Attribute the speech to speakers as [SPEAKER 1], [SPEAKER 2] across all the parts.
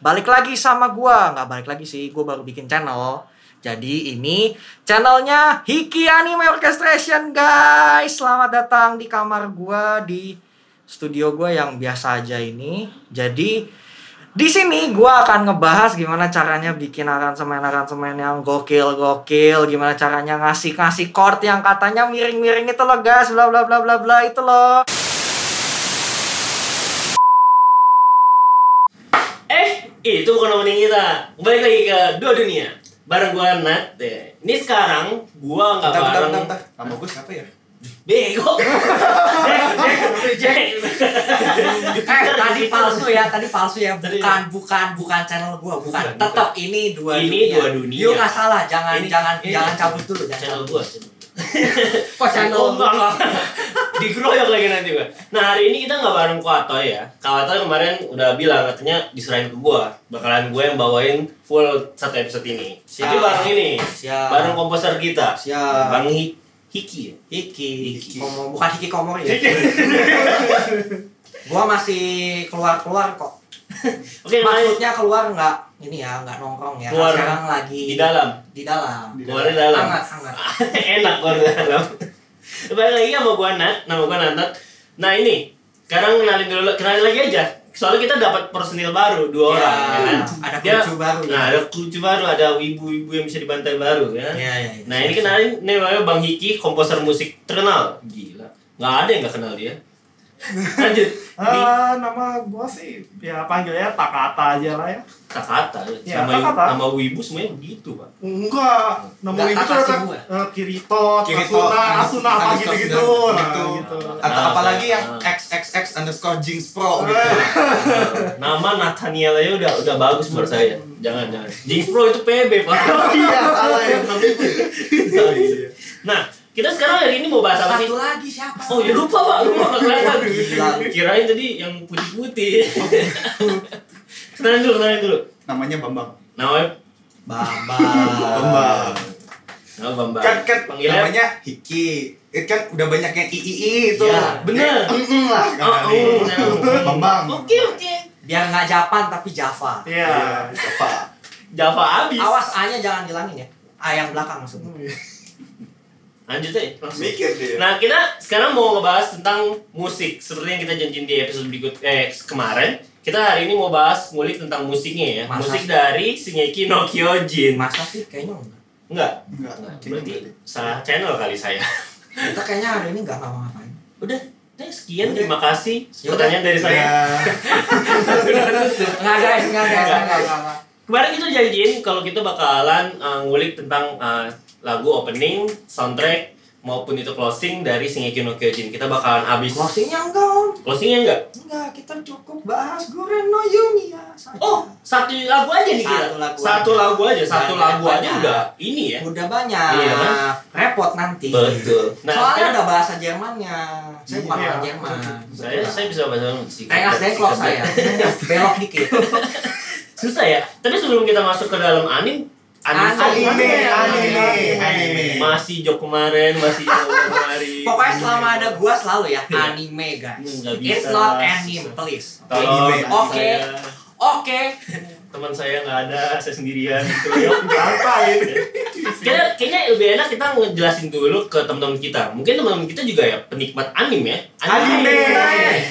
[SPEAKER 1] balik lagi sama gua nggak balik lagi sih gua baru bikin channel jadi ini channelnya Hiki Anime Orchestration guys selamat datang di kamar gua di studio gua yang biasa aja ini jadi di sini gua akan ngebahas gimana caranya bikin aransemen-aransemen yang gokil-gokil, gimana caranya ngasih-ngasih chord yang katanya miring-miring itu loh guys, bla bla bla bla bla itu loh.
[SPEAKER 2] Eh, itu bukan opening kita. Balik lagi ke dua dunia. Bareng gua Nat. deh. Ini sekarang gua nggak
[SPEAKER 3] Bentar, bentar,
[SPEAKER 2] bareng. Nah,
[SPEAKER 3] bentar, bentar. Nama gue siapa ya?
[SPEAKER 2] Bego. Jack, Jack,
[SPEAKER 4] Eh, tadi palsu ya, tadi palsu ya.
[SPEAKER 2] gitu. Tadi
[SPEAKER 4] Bukan, bukan, bukan channel gua, bukan.
[SPEAKER 2] Bukan,
[SPEAKER 4] Tetap ini dua
[SPEAKER 2] Ini
[SPEAKER 4] dunia.
[SPEAKER 2] dua dunia.
[SPEAKER 4] Yuk nggak salah, jangan,
[SPEAKER 2] Ini-
[SPEAKER 4] jangan,
[SPEAKER 2] ini-
[SPEAKER 4] jangan cabut dulu, jangan
[SPEAKER 2] Channel
[SPEAKER 4] cabut.
[SPEAKER 2] gua.
[SPEAKER 4] Kok channel?
[SPEAKER 2] Oh, enggak, enggak. Dikeroyok lagi nanti gua. Nah, hari ini kita nggak bareng Kuatoy ya. Kuatoy kemarin udah bilang katanya diserahin ke gua. Bakalan gua yang bawain full satu episode ini. Jadi
[SPEAKER 4] Siap.
[SPEAKER 2] bareng ini.
[SPEAKER 4] Siap.
[SPEAKER 2] Bareng komposer kita.
[SPEAKER 4] Siap.
[SPEAKER 2] Bang Hi- Hiki ya.
[SPEAKER 4] Hiki,
[SPEAKER 2] Hiki.
[SPEAKER 4] Komo- bukan Hiki Komori ya. gua masih keluar-keluar kok.
[SPEAKER 2] Oke, makanya
[SPEAKER 4] Maksudnya keluar nggak ini ya, nggak nongkrong ya.
[SPEAKER 2] Keluar.
[SPEAKER 4] Sekarang lagi
[SPEAKER 2] di dalam.
[SPEAKER 4] di dalam.
[SPEAKER 2] Keluarnya dalam.
[SPEAKER 4] Hangat, hangat.
[SPEAKER 2] enak banget dalam balik lagi sama gua Nat nama gua Nanat nah ini sekarang kenalin dulu kenalin lagi aja soalnya kita dapat personil baru dua
[SPEAKER 4] Ya,
[SPEAKER 2] orang ya kan?
[SPEAKER 4] ada
[SPEAKER 2] Dia-
[SPEAKER 4] kucu baru
[SPEAKER 1] Iya.
[SPEAKER 4] ya.
[SPEAKER 2] nah ada kucu baru ada wibu-wibu yang bisa dibantai baru ya
[SPEAKER 4] Iya, iya. iya.
[SPEAKER 2] nah ini kenalin nih namanya Bang Hiki komposer musik terkenal gila nggak ada yang nggak kenal dia lanjut ini
[SPEAKER 5] Ah, nama gua sih ya panggilnya Takata aja lah ya.
[SPEAKER 2] Takata
[SPEAKER 5] Ya,
[SPEAKER 2] sama
[SPEAKER 5] Takata.
[SPEAKER 2] nama wibu semuanya begitu pak
[SPEAKER 5] Enggak, nama
[SPEAKER 4] Nggak,
[SPEAKER 5] ibu tuh
[SPEAKER 4] Takasi
[SPEAKER 5] ada
[SPEAKER 4] gua.
[SPEAKER 5] eh, Kirito,
[SPEAKER 3] Kirito,
[SPEAKER 5] Asuna,
[SPEAKER 3] Anis-
[SPEAKER 5] Asuna apa
[SPEAKER 3] Anis-
[SPEAKER 5] gitu-gitu.
[SPEAKER 3] Anis-
[SPEAKER 5] Nah,
[SPEAKER 3] gitu.
[SPEAKER 5] gitu.
[SPEAKER 3] Atau
[SPEAKER 2] Nah,
[SPEAKER 3] apalagi
[SPEAKER 2] saya-
[SPEAKER 3] yang XXX underscore Jinx Pro gitu.
[SPEAKER 2] nama Nathaniel aja udah udah bagus menurut saya jangan jangan Jinx Pro itu PB pak
[SPEAKER 5] Iya, salah ya.
[SPEAKER 2] nah kita sekarang hari ini mau bahas apa sih
[SPEAKER 4] satu lagi siapa?
[SPEAKER 2] oh ya lupa pak lupa nggak kelihatan
[SPEAKER 4] Gila.
[SPEAKER 2] kirain tadi yang putih putih kenalin dulu kenalin dulu
[SPEAKER 3] Namanya Bambang.
[SPEAKER 2] nama
[SPEAKER 4] Bambang.
[SPEAKER 3] Bambang.
[SPEAKER 2] nama Bambang
[SPEAKER 3] Kan kan
[SPEAKER 2] panggilan
[SPEAKER 3] namanya Hiki. Eh, kan udah banyak yang III itu.
[SPEAKER 2] Ya, bener.
[SPEAKER 3] Eh, mm-mm lah kan
[SPEAKER 2] Oh,
[SPEAKER 3] tadi.
[SPEAKER 2] oh, bener.
[SPEAKER 3] Bambang.
[SPEAKER 2] oke oke
[SPEAKER 4] Biar nggak Japan tapi Java.
[SPEAKER 5] Iya.
[SPEAKER 3] Iya, apa?
[SPEAKER 2] Java abis
[SPEAKER 4] Awas A-nya jangan hilangin ya. A yang belakang maksudnya.
[SPEAKER 2] lanjut aja langsung
[SPEAKER 3] Mikir dia.
[SPEAKER 2] Nah, kita sekarang mau ngebahas tentang musik. Seperti yang kita janjiin di episode berikut eh kemarin, kita hari ini mau bahas ngulik tentang musiknya ya.
[SPEAKER 4] Masa
[SPEAKER 2] Musik
[SPEAKER 4] sih?
[SPEAKER 2] dari Shingeki no Kyojin.
[SPEAKER 4] Masa sih kayaknya enggak.
[SPEAKER 2] Enggak.
[SPEAKER 3] Enggak.
[SPEAKER 2] Enggak.
[SPEAKER 3] ini
[SPEAKER 2] Nah, Berarti
[SPEAKER 3] berarti.
[SPEAKER 2] salah channel kali saya.
[SPEAKER 4] Kita kayaknya hari ini enggak ngapa-ngapain.
[SPEAKER 2] Udah, udah Eh, sekian
[SPEAKER 3] Udah.
[SPEAKER 2] terima kasih
[SPEAKER 4] Ya
[SPEAKER 2] pertanyaan dari saya.
[SPEAKER 3] Ya.
[SPEAKER 4] Enggak guys, enggak guys,
[SPEAKER 2] Enggak,
[SPEAKER 4] enggak guys. enggak.
[SPEAKER 2] Kemarin kita janjiin kalau kita bakalan eh, ngulik tentang eh, lagu opening, soundtrack maupun itu closing dari Shingeki no Kyojin. Kita bakalan
[SPEAKER 3] Iya.
[SPEAKER 2] habis
[SPEAKER 4] Closingnya enggak om.
[SPEAKER 2] closingnya enggak?
[SPEAKER 4] Enggak, kita cukup bahas Guren no Yumiya saja.
[SPEAKER 2] Oh, satu lagu aja nih kita.
[SPEAKER 4] Satu lagu
[SPEAKER 2] Satu
[SPEAKER 4] aja.
[SPEAKER 2] lagu aja, satu
[SPEAKER 4] Banyak,
[SPEAKER 2] lagu aja
[SPEAKER 4] banyak.
[SPEAKER 2] udah ini ya.
[SPEAKER 4] udah banyak.
[SPEAKER 2] Iya, kan?
[SPEAKER 4] Repot nanti.
[SPEAKER 2] Betul. Nah,
[SPEAKER 4] Soalnya
[SPEAKER 2] sekarang-
[SPEAKER 4] ada bahasa Jermannya. Saya bukan
[SPEAKER 5] Iya.
[SPEAKER 4] orang Jerman.
[SPEAKER 2] Saya saya bisa bahasa Inggris.
[SPEAKER 4] kayak ngas dengklok saya. Belok dikit.
[SPEAKER 2] Susah ya. Tapi sebelum kita masuk ke dalam anim anim,
[SPEAKER 4] Anime,
[SPEAKER 5] anime,
[SPEAKER 3] anime.
[SPEAKER 2] Masih Jok kemarin, masih Jok kemarin.
[SPEAKER 4] Pokoknya selama ada gua selalu ya anime
[SPEAKER 2] Hmm,
[SPEAKER 4] guys.
[SPEAKER 2] nggak bisa.
[SPEAKER 4] It's not anime, please.
[SPEAKER 2] Tolong,
[SPEAKER 3] Anime.
[SPEAKER 2] nanti
[SPEAKER 4] Oke.
[SPEAKER 2] saya-
[SPEAKER 4] Oke.
[SPEAKER 2] Teman saya nggak ada, saya sendirian. Keroyok.
[SPEAKER 3] Apa ini?
[SPEAKER 2] Kayaknya, kayaknya lebih enak kita ngejelasin dulu ke teman-teman kita. Mungkin teman-teman kita juga ya penikmat anime ya.
[SPEAKER 5] Anime.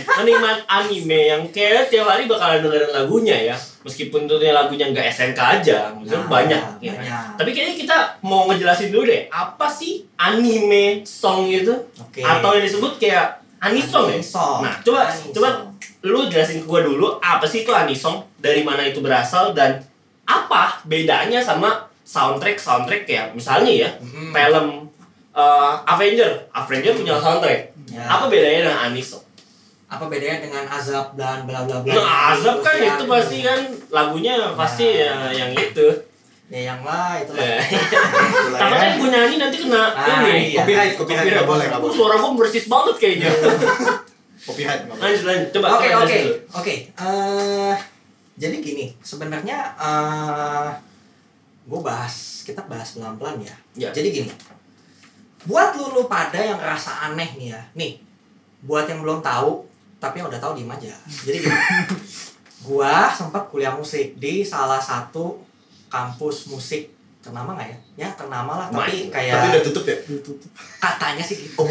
[SPEAKER 2] Penikmat anime yang kayak tiap hari bakalan dengerin lagunya ya. Meskipun tentunya lagunya nggak SNK aja, maksudnya
[SPEAKER 4] Nah,
[SPEAKER 2] banyak. ya kan?
[SPEAKER 4] banyak.
[SPEAKER 2] Tapi kayaknya kita mau ngejelasin dulu deh, apa sih anime song itu?
[SPEAKER 4] Oke.
[SPEAKER 2] Atau yang disebut kayak anisong ya?
[SPEAKER 4] Anisong.
[SPEAKER 2] Nah, coba
[SPEAKER 4] Anisong.
[SPEAKER 2] coba lu jelasin ke gua dulu apa sih itu anisong, dari mana itu berasal dan apa bedanya sama soundtrack soundtrack kayak misalnya ya
[SPEAKER 4] Hmm.
[SPEAKER 2] film eh, Avenger, Avenger punya soundtrack.
[SPEAKER 4] Ya.
[SPEAKER 2] Apa bedanya dengan anisong?
[SPEAKER 4] apa bedanya dengan azab dan bla bla bla
[SPEAKER 2] Nah, azab kan
[SPEAKER 4] Ya,
[SPEAKER 2] itu pasti kan lagunya pasti ya yang itu.
[SPEAKER 4] ya yang lah itu lah
[SPEAKER 2] Eh,
[SPEAKER 4] ya.
[SPEAKER 3] ya.
[SPEAKER 2] Tapi kan gue nyanyi nanti kena
[SPEAKER 4] Ah,
[SPEAKER 2] ini
[SPEAKER 4] iya.
[SPEAKER 3] Copyright, copyright nggak boleh, nggak
[SPEAKER 2] Oh,
[SPEAKER 3] boleh.
[SPEAKER 2] suara gue persis banget kayaknya.
[SPEAKER 3] Copyright nggak boleh.
[SPEAKER 2] lanjut lanjut coba.
[SPEAKER 4] oke
[SPEAKER 2] coba
[SPEAKER 4] oke
[SPEAKER 2] jelasin dulu.
[SPEAKER 4] oke Eh, jadi gini sebenarnya eh gue bahas kita bahas pelan pelan ya.
[SPEAKER 2] Ya.
[SPEAKER 4] jadi gini buat lu lu pada yang rasa aneh nih ya nih buat yang belum tahu tapi yang udah tahu diem aja jadi gini gua sempat kuliah musik di salah satu kampus musik ternama nggak ya? Ya ternama lah, tapi
[SPEAKER 2] Main.
[SPEAKER 3] Tapi udah
[SPEAKER 4] kayak
[SPEAKER 3] tutup ya?
[SPEAKER 4] katanya sih gitu.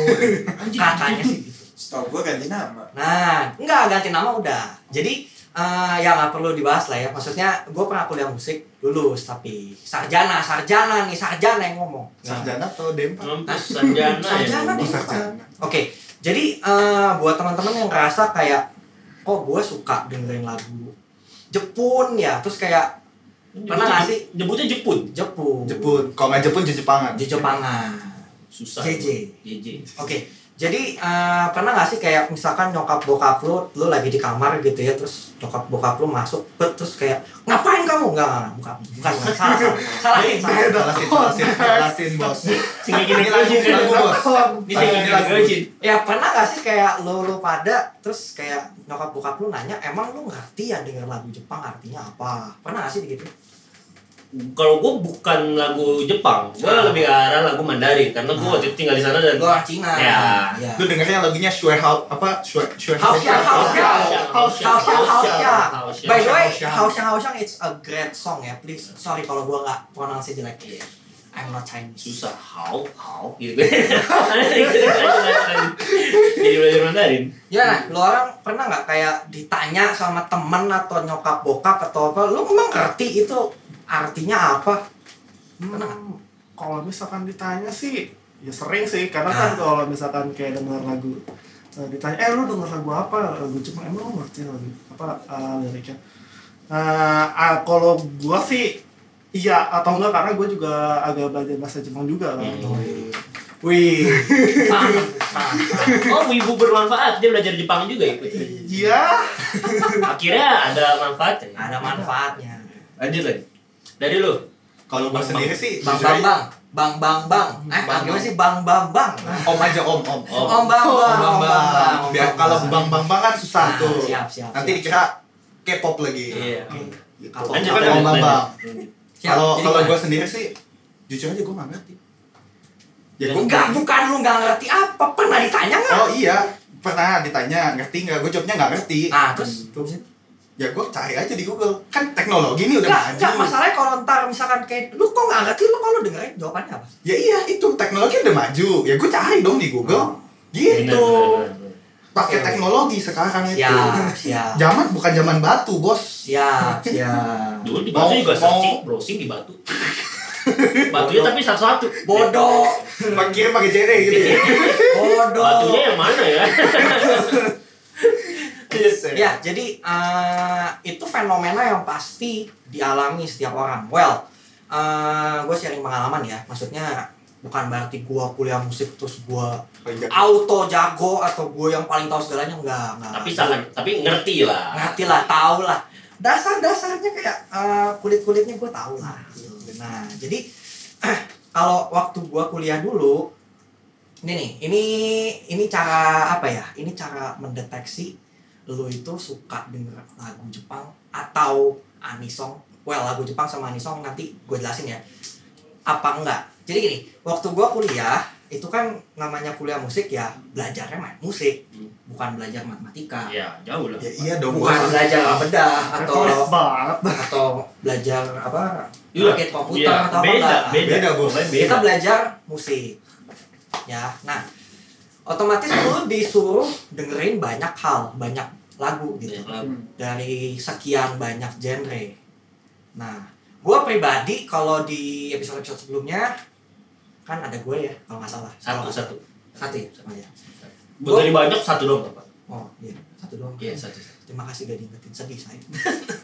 [SPEAKER 4] katanya sih gitu.
[SPEAKER 3] Setahu gua ganti nama.
[SPEAKER 4] Nah, enggak ganti nama udah. Jadi eh, ya nggak perlu dibahas lah ya. Maksudnya gue pernah kuliah musik lulus tapi sarjana, sarjana nih sarjana yang ngomong. Nah,
[SPEAKER 3] Sarjana atau D4?
[SPEAKER 2] Mampus sarjana ya.
[SPEAKER 4] Sarjana
[SPEAKER 3] Oh,
[SPEAKER 4] nih.
[SPEAKER 3] sarjana.
[SPEAKER 4] Oke, jadi eh, buat teman-teman yang ngerasa kayak kok gue suka dengerin lagu Jepun ya, terus kayak Pernah nggak sih?
[SPEAKER 2] Nyebutnya Jepun.
[SPEAKER 4] Jepun,
[SPEAKER 3] Jepun. Kalau nggak Jepun, Jepangan.
[SPEAKER 4] Jepangan,
[SPEAKER 2] Susah.
[SPEAKER 4] JJ.
[SPEAKER 2] JJ.
[SPEAKER 4] Oke, jadi eh, pernah gak sih kayak misalkan nyokap bokap lu, lu lagi di kamar gitu ya, terus nyokap bokap lu masuk, bet, terus kayak ngapain kamu? Enggak, enggak, bukan, bukan, bukan, salah, salah, salahin, salahin.
[SPEAKER 3] Jelasin, jelasin, jelasin bos.
[SPEAKER 2] Singgih gini
[SPEAKER 3] Ini lagu,
[SPEAKER 2] gojin.
[SPEAKER 3] lagu bos.
[SPEAKER 2] Ini singgih
[SPEAKER 3] Ini
[SPEAKER 2] gini
[SPEAKER 3] lagu.
[SPEAKER 2] gojin.
[SPEAKER 4] Ya pernah gak sih kayak lu lu pada, terus kayak nyokap bokap lu nanya, emang lu ngerti ya denger lagu Jepang artinya apa? Pernah gak sih begitu?
[SPEAKER 2] Kalau gue bukan lagu Jepang, gue
[SPEAKER 4] Ah.
[SPEAKER 2] lebih ke arah lagu Mandarin karena gue
[SPEAKER 4] Ah.
[SPEAKER 2] waktu itu tinggal di sana dan
[SPEAKER 4] Gue orang Cina.
[SPEAKER 2] Ya.
[SPEAKER 4] Ya.
[SPEAKER 3] Lu dengernya lagunya Shue Hao apa Shue Shue
[SPEAKER 4] Hao Xiao, Hao Xiao.
[SPEAKER 2] Hao Xiao,
[SPEAKER 4] Hao Xiao, Hao
[SPEAKER 2] Hao Xiao.
[SPEAKER 4] By the way,
[SPEAKER 3] Haoxiang.
[SPEAKER 4] Hao Xiang Hao Xiang it's a great song ya, please. Sorry kalau gue gak pronounce jelek. I'm not Chinese.
[SPEAKER 2] susah hau hau gitu jadi belajar Mandarin
[SPEAKER 4] Ya, nah, lu orang pernah nggak kayak ditanya sama temen atau nyokap bokap atau apa, lu emang ngerti itu artinya apa?
[SPEAKER 5] Hmm, kalau misalkan ditanya sih, ya sering sih. Karena
[SPEAKER 4] Ah.
[SPEAKER 5] kan kalau misalkan kayak dengar lagu, eh, ditanya, eh lu denger lagu apa? Lagu Jepang, emang lu ngerti lagu apa eh, liriknya? Eh, ah, kalau gua sih, iya atau enggak karena gua juga agak belajar bahasa Jepang juga kan.
[SPEAKER 4] Hmm. Oh, iya. Wih,
[SPEAKER 2] oh wibu bermanfaat dia belajar Jepang juga ikut
[SPEAKER 5] Iya.
[SPEAKER 2] akhirnya ada manfaatnya
[SPEAKER 4] ada manfaatnya.
[SPEAKER 2] lanjut lagi dari lu
[SPEAKER 3] Kalau gua sendiri sih
[SPEAKER 4] Bang
[SPEAKER 3] jujur
[SPEAKER 4] Bang
[SPEAKER 3] aja-
[SPEAKER 4] Bang, Bang Bang Bang, eh
[SPEAKER 3] Bang
[SPEAKER 4] panggilnya
[SPEAKER 3] Bang.
[SPEAKER 4] sih Bang Bang Bang.
[SPEAKER 3] Om aja Om Om.
[SPEAKER 2] Om.
[SPEAKER 4] Om Bang Bang, Om Bang Bang. Om
[SPEAKER 3] Biar kalau Bang Bang Bang kan susah
[SPEAKER 4] Nah,
[SPEAKER 3] tuh.
[SPEAKER 4] Siap siap.
[SPEAKER 3] Nanti
[SPEAKER 4] siap.
[SPEAKER 3] dikira K-pop lagi.
[SPEAKER 2] Iya.
[SPEAKER 3] Gitu.
[SPEAKER 4] Lanjut,
[SPEAKER 2] lanjut
[SPEAKER 3] Om Bang
[SPEAKER 2] lanjut,
[SPEAKER 3] Bang.
[SPEAKER 2] lanjut.
[SPEAKER 4] Siap,
[SPEAKER 3] Kalau
[SPEAKER 4] jadi
[SPEAKER 3] kalau
[SPEAKER 4] gimana?
[SPEAKER 3] gua sendiri sih jujur aja gua nggak ngerti. Ya gua
[SPEAKER 4] enggak, bukan lu nggak ngerti apa, pernah ditanya nggak?
[SPEAKER 3] Oh iya, pernah ditanya ngerti nggak? Gue jawabnya nggak ngerti.
[SPEAKER 4] Nah, terus
[SPEAKER 3] Ya gue cari aja di Google. Kan teknologi ini udah
[SPEAKER 4] Enggak, enggak,
[SPEAKER 3] maju.
[SPEAKER 4] masalahnya kalau ntar misalkan kayak lu kok nggak ngerti lu kalau dengerin jawabannya apa?
[SPEAKER 3] Ya iya itu teknologi udah maju. Ya gue cari dong di
[SPEAKER 4] Oh.
[SPEAKER 3] Google.
[SPEAKER 2] Benar,
[SPEAKER 3] Gitu.
[SPEAKER 2] benar, benar.
[SPEAKER 3] Pakai
[SPEAKER 4] Oke.
[SPEAKER 3] teknologi sekarang itu.
[SPEAKER 4] Iya. Siap, siap.
[SPEAKER 3] Zaman bukan zaman batu bos.
[SPEAKER 4] Siap, siap.
[SPEAKER 2] dulu di
[SPEAKER 3] Mau-
[SPEAKER 2] batu juga
[SPEAKER 3] mau-
[SPEAKER 2] searching browsing di batu batunya tapi satu satu
[SPEAKER 4] Bodoh,
[SPEAKER 3] Pakai pakai JD gitu. ya.
[SPEAKER 4] Iya. bodoh.
[SPEAKER 2] batunya yang mana ya
[SPEAKER 4] Ya, jadi eh, itu fenomena yang pasti dialami setiap orang. Well, gue sharing pengalaman ya. Maksudnya bukan berarti gue kuliah musik terus gue
[SPEAKER 3] Oh, iya.
[SPEAKER 4] auto jago atau gue yang paling tahu segalanya enggak, enggak.
[SPEAKER 2] tapi sangat tapi ngerti lah
[SPEAKER 4] ngerti lah, tahu lah. Dasar-dasarnya kayak eh, kulit-kulitnya gue tahu lah. Nah, jadi kalau waktu gue kuliah dulu, ini nih, ini ini cara apa ya? Ini cara mendeteksi lu itu suka denger lagu Jepang atau anisong. Well, lagu Jepang sama anisong nanti gue jelasin ya. Apa enggak? Jadi gini, waktu gue kuliah itu kan namanya kuliah musik ya belajarnya main musik bukan belajar matematika
[SPEAKER 2] ya jauh lah
[SPEAKER 3] Ya iya dong.
[SPEAKER 4] bukan
[SPEAKER 3] Bos.
[SPEAKER 4] belajar bedah atau
[SPEAKER 5] Atau banget.
[SPEAKER 4] atau belajar apa
[SPEAKER 2] Iya,
[SPEAKER 4] paket komputer
[SPEAKER 2] iya,
[SPEAKER 4] atau apa
[SPEAKER 2] beda,
[SPEAKER 4] enggak.
[SPEAKER 2] beda,
[SPEAKER 3] Beda, Bos.
[SPEAKER 2] Pokoknya
[SPEAKER 4] kita
[SPEAKER 2] beda.
[SPEAKER 4] belajar musik ya nah otomatis lu disuruh dengerin banyak hal banyak lagu gitu
[SPEAKER 2] Banyak lagu.
[SPEAKER 4] dari sekian banyak genre nah gue pribadi kalau di episode episode sebelumnya kan ada gue ya kalau nggak salah
[SPEAKER 2] satu satu
[SPEAKER 4] satu ya Oh, iya.
[SPEAKER 2] Buat dari banyak satu doang Bapak.
[SPEAKER 4] oh iya satu doang
[SPEAKER 2] Iya satu satu.
[SPEAKER 4] Terima kasih udah diingetin sedih saya.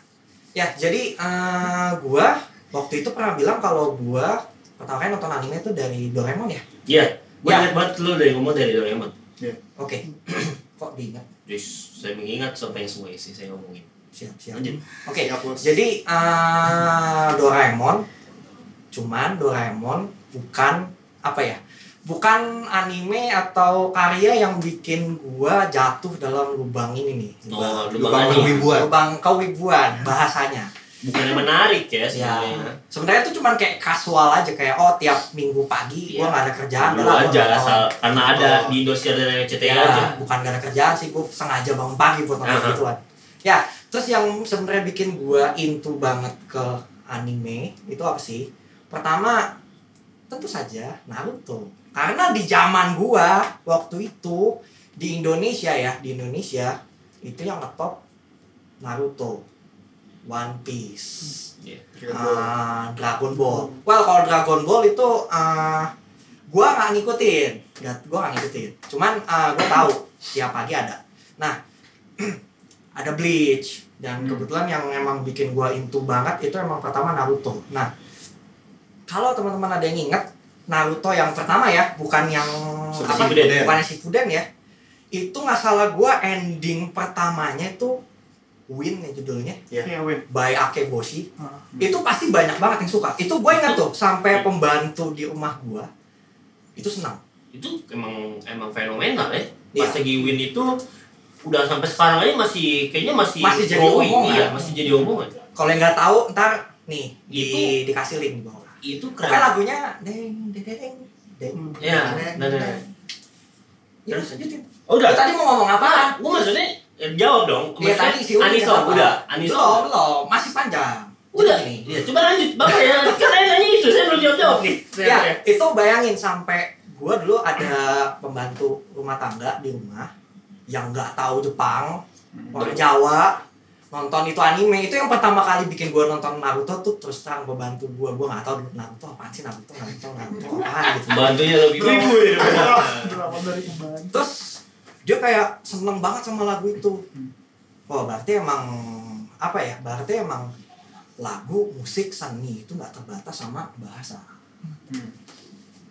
[SPEAKER 4] ya, jadi eh, gua waktu itu pernah bilang kalau gua pertama kali nonton anime itu dari Doraemon ya.
[SPEAKER 2] Iya. Gue
[SPEAKER 4] Ya.
[SPEAKER 2] ingat banget lu dari ngomong dari Doraemon.
[SPEAKER 4] Oke. Kok diingat?
[SPEAKER 2] Terus saya mengingat sampai yang semua isi saya ngomongin.
[SPEAKER 4] Siap, siap. Oke.
[SPEAKER 2] Lanjut.
[SPEAKER 3] Ya, bos.
[SPEAKER 4] Jadi eh, Doraemon cuman Doraemon bukan apa ya? Bukan anime atau karya yang bikin gua jatuh dalam lubang ini nih. Lubang,
[SPEAKER 2] Oh, lubang
[SPEAKER 3] Lubang
[SPEAKER 2] aneh.
[SPEAKER 3] kewibuan.
[SPEAKER 4] lubang kewibuan bahasanya.
[SPEAKER 2] Bukan yang menarik ya
[SPEAKER 4] Ya,
[SPEAKER 2] sebenarnya.
[SPEAKER 4] sebenarnya itu cuman kayak kasual aja kayak oh tiap minggu pagi
[SPEAKER 2] Iya.
[SPEAKER 4] gua nggak Ya, ada kerjaan
[SPEAKER 2] Dulu
[SPEAKER 4] udah lah,
[SPEAKER 2] aja
[SPEAKER 4] gua nonton.
[SPEAKER 2] asal karena ada
[SPEAKER 3] Oh.
[SPEAKER 2] di Indosiar dan RCTI
[SPEAKER 4] Ya,
[SPEAKER 2] aja.
[SPEAKER 4] bukan gak ada kerjaan sih gua sengaja bangun pagi buat nonton
[SPEAKER 2] Aha.
[SPEAKER 4] gituan. Ya, terus yang sebenarnya bikin gua into banget ke anime itu apa sih? Pertama, tentu saja Naruto. Karena di zaman gua waktu itu di Indonesia ya, di Indonesia itu yang ngetop Naruto, One Piece. Ah, Dragon Ball. Well, kalau Dragon Ball itu eh gua nggak ngikutin, nggak gua nggak ngikutin. Cuman eh gua tahu tiap pagi ada. Nah, ada Bleach dan kebetulan yang emang bikin gua into banget itu emang pertama Naruto. Nah, kalau teman-teman ada yang inget Naruto yang pertama ya, bukan yang
[SPEAKER 2] Super
[SPEAKER 4] apa?
[SPEAKER 2] Shippuden.
[SPEAKER 4] Bukan Shippuden ya. Itu nggak salah gua ending pertamanya itu Win ya judulnya
[SPEAKER 5] Iya, wait.
[SPEAKER 4] by Akeboshi
[SPEAKER 5] Ah.
[SPEAKER 2] Hmm.
[SPEAKER 4] itu pasti banyak banget yang suka itu gue ingat tuh sampai pembantu di rumah gue itu senang
[SPEAKER 2] itu emang emang fenomenal ya
[SPEAKER 4] Iya.
[SPEAKER 2] pas lagi win itu udah sampai sekarang aja masih kayaknya masih
[SPEAKER 4] Masih jadi
[SPEAKER 2] growing.
[SPEAKER 4] omongan.
[SPEAKER 2] iya masih jadi omongan
[SPEAKER 4] kalau yang nggak tahu ntar nih di,
[SPEAKER 2] Itu- Nah.
[SPEAKER 4] dikasih link di bawah
[SPEAKER 2] itu
[SPEAKER 4] Pokoknya
[SPEAKER 2] keren
[SPEAKER 4] lagunya deng deng deng deng
[SPEAKER 5] Hmm.
[SPEAKER 2] ya
[SPEAKER 4] deng,
[SPEAKER 2] iya, nah, nah, nah.
[SPEAKER 4] deng. Ya,
[SPEAKER 2] Terus?
[SPEAKER 4] lanjutin.
[SPEAKER 2] Oh, udah
[SPEAKER 4] Lu tadi mau ngomong apaan
[SPEAKER 2] gue maksudnya ya, jawab dong
[SPEAKER 4] Iya
[SPEAKER 2] maksudnya
[SPEAKER 4] tadi sih udah
[SPEAKER 2] Anisong
[SPEAKER 4] jawab.
[SPEAKER 2] udah
[SPEAKER 4] belum
[SPEAKER 2] Anisong
[SPEAKER 4] belum masih panjang
[SPEAKER 2] udah
[SPEAKER 4] Jadi gini.
[SPEAKER 2] ya, coba lanjut bapak ya kan saya nanya itu saya belum jawab jawab nih Saya- saya.
[SPEAKER 4] ya itu bayangin sampai gue dulu ada pembantu rumah tangga di rumah yang nggak tahu Jepang orang Jawa nonton itu anime itu yang pertama kali bikin gue nonton Naruto tuh terus terang pembantu gue gue nggak tahu dulu Naruto apaan sih Naruto Naruto Naruto apaan gitu
[SPEAKER 2] bantunya lebih
[SPEAKER 5] Berapa-
[SPEAKER 2] ya
[SPEAKER 5] berapa-
[SPEAKER 4] Eh.
[SPEAKER 5] Berapa dari kembali?
[SPEAKER 4] terus dia kayak seneng banget sama lagu itu wah berarti emang apa ya berarti emang lagu musik seni itu nggak terbatas sama bahasa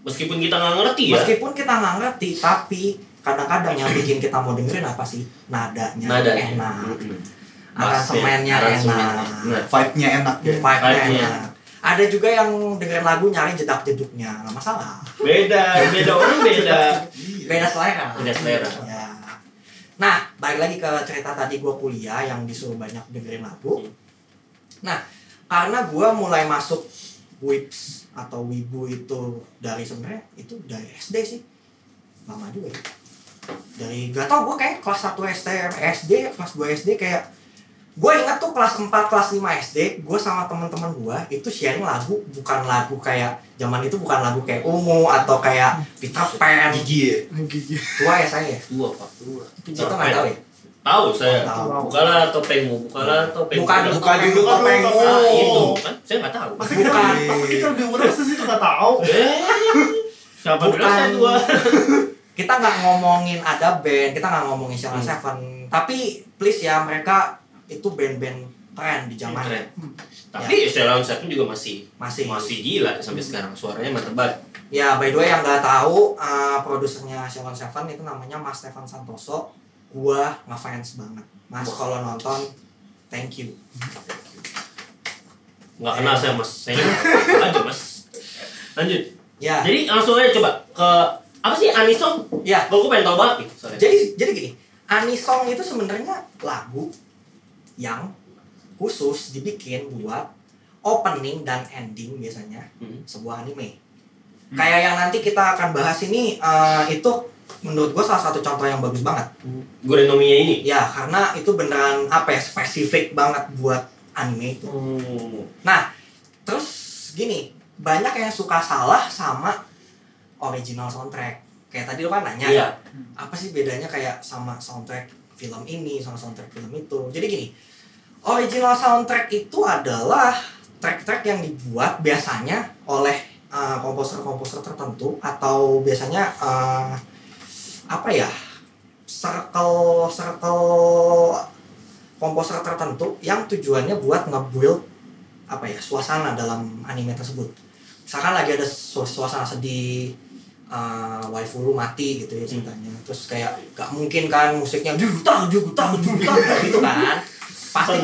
[SPEAKER 2] meskipun kita nggak ngerti ya
[SPEAKER 4] Meskipun kita nggak ngerti, tapi kadang-kadang yang bikin kita mau dengerin apa sih? Nadanya,
[SPEAKER 2] nada iya.
[SPEAKER 4] enak,
[SPEAKER 2] Mm-mm.
[SPEAKER 4] aransemennya
[SPEAKER 2] Aransemennya.
[SPEAKER 4] enak,
[SPEAKER 2] Nah,
[SPEAKER 3] Vibe-nya enak ya.
[SPEAKER 4] vibe-nya
[SPEAKER 2] Vibe-nya.
[SPEAKER 4] enak. Ada juga yang dengerin lagu nyari jedak-jeduknya, nggak masalah.
[SPEAKER 2] beda beda orang beda
[SPEAKER 3] Iya.
[SPEAKER 4] Beda selera.
[SPEAKER 2] Beda selera.
[SPEAKER 4] Ya. Nah, balik lagi ke cerita tadi gue kuliah yang disuruh banyak dengerin lagu. Nah, karena gue mulai masuk Wips atau Wibu itu dari sebenarnya itu dari SD sih. Lama juga ya. Dari gak tau gue kayak kelas 1 SD, SD, kelas 2 SD kayak gue ingat tuh kelas 4, kelas 5 SD gue sama teman-teman gue itu sharing lagu bukan lagu kayak zaman itu bukan lagu kayak Ungu atau kayak Peter Pan
[SPEAKER 3] Gigi ya.
[SPEAKER 5] Gigi.
[SPEAKER 4] tua ya saya ya?
[SPEAKER 2] gua pak gua
[SPEAKER 4] Itu nggak tahu ya?
[SPEAKER 2] tahu saya
[SPEAKER 4] Tahu.
[SPEAKER 2] bukalah topengmu bukalah topengmu
[SPEAKER 4] Bukan,
[SPEAKER 2] Udah.
[SPEAKER 3] Buka dulu
[SPEAKER 5] Buka dulu
[SPEAKER 3] topengmu.
[SPEAKER 2] Ah,
[SPEAKER 5] Oh.
[SPEAKER 2] itu kan saya nggak tahu
[SPEAKER 5] Masa kita,
[SPEAKER 4] Bukan.
[SPEAKER 5] masa kita lebih muda sih itu nggak tahu.
[SPEAKER 2] eh siapa bilang saya
[SPEAKER 4] Bukan.
[SPEAKER 2] tua
[SPEAKER 4] Kita nggak ngomongin ada band, kita nggak ngomongin Sheila
[SPEAKER 2] Hmm.
[SPEAKER 4] Seven. Tapi please ya mereka itu band-band keren di zamannya.
[SPEAKER 2] Keren. tapi Sheila Seven juga Hmm. Ya. masih
[SPEAKER 4] Masih.
[SPEAKER 2] masih gila sampai sekarang suaranya mertebat
[SPEAKER 4] Ya by the way yang nggak tahu eh, produsernya Sheila Seven itu namanya Mas Stefan Santoso. Gua ngefans banget. Mas
[SPEAKER 2] Wah.
[SPEAKER 4] kalau nonton thank you.
[SPEAKER 2] nggak kenal saya mas saya nggak kenal. lanjut mas lanjut
[SPEAKER 4] Ya,
[SPEAKER 2] jadi langsung aja coba ke apa sih Anisong
[SPEAKER 4] ya.
[SPEAKER 2] Gua gue pengen tahu banget nih soalnya
[SPEAKER 4] Jadi jadi gini, anisong itu sebenarnya lagu yang khusus dibikin buat opening dan ending biasanya
[SPEAKER 2] Hmm.
[SPEAKER 4] sebuah anime. Kayak yang nanti kita akan bahas ini eh, itu menurut gue salah satu contoh yang bagus banget.
[SPEAKER 2] Gorenomiya ini
[SPEAKER 4] Ya karena itu beneran apa ya spesifik banget buat anime itu.
[SPEAKER 2] hmm.
[SPEAKER 4] Nah terus gini banyak yang suka salah sama original soundtrack. Kayak tadi lu kan nanya
[SPEAKER 2] iya
[SPEAKER 4] apa sih bedanya kayak sama soundtrack film ini sama soundtrack film itu jadi gini original soundtrack itu adalah track-track yang dibuat biasanya oleh eh, komposer-komposer tertentu atau biasanya eh, apa ya circle circle komposer tertentu yang tujuannya buat nge-build apa ya suasana dalam anime tersebut misalkan lagi ada su- suasana sedih eh waifu lu mati gitu ya ceritanya terus kayak gak mungkin kan musiknya juta juta juta gitu kan pasti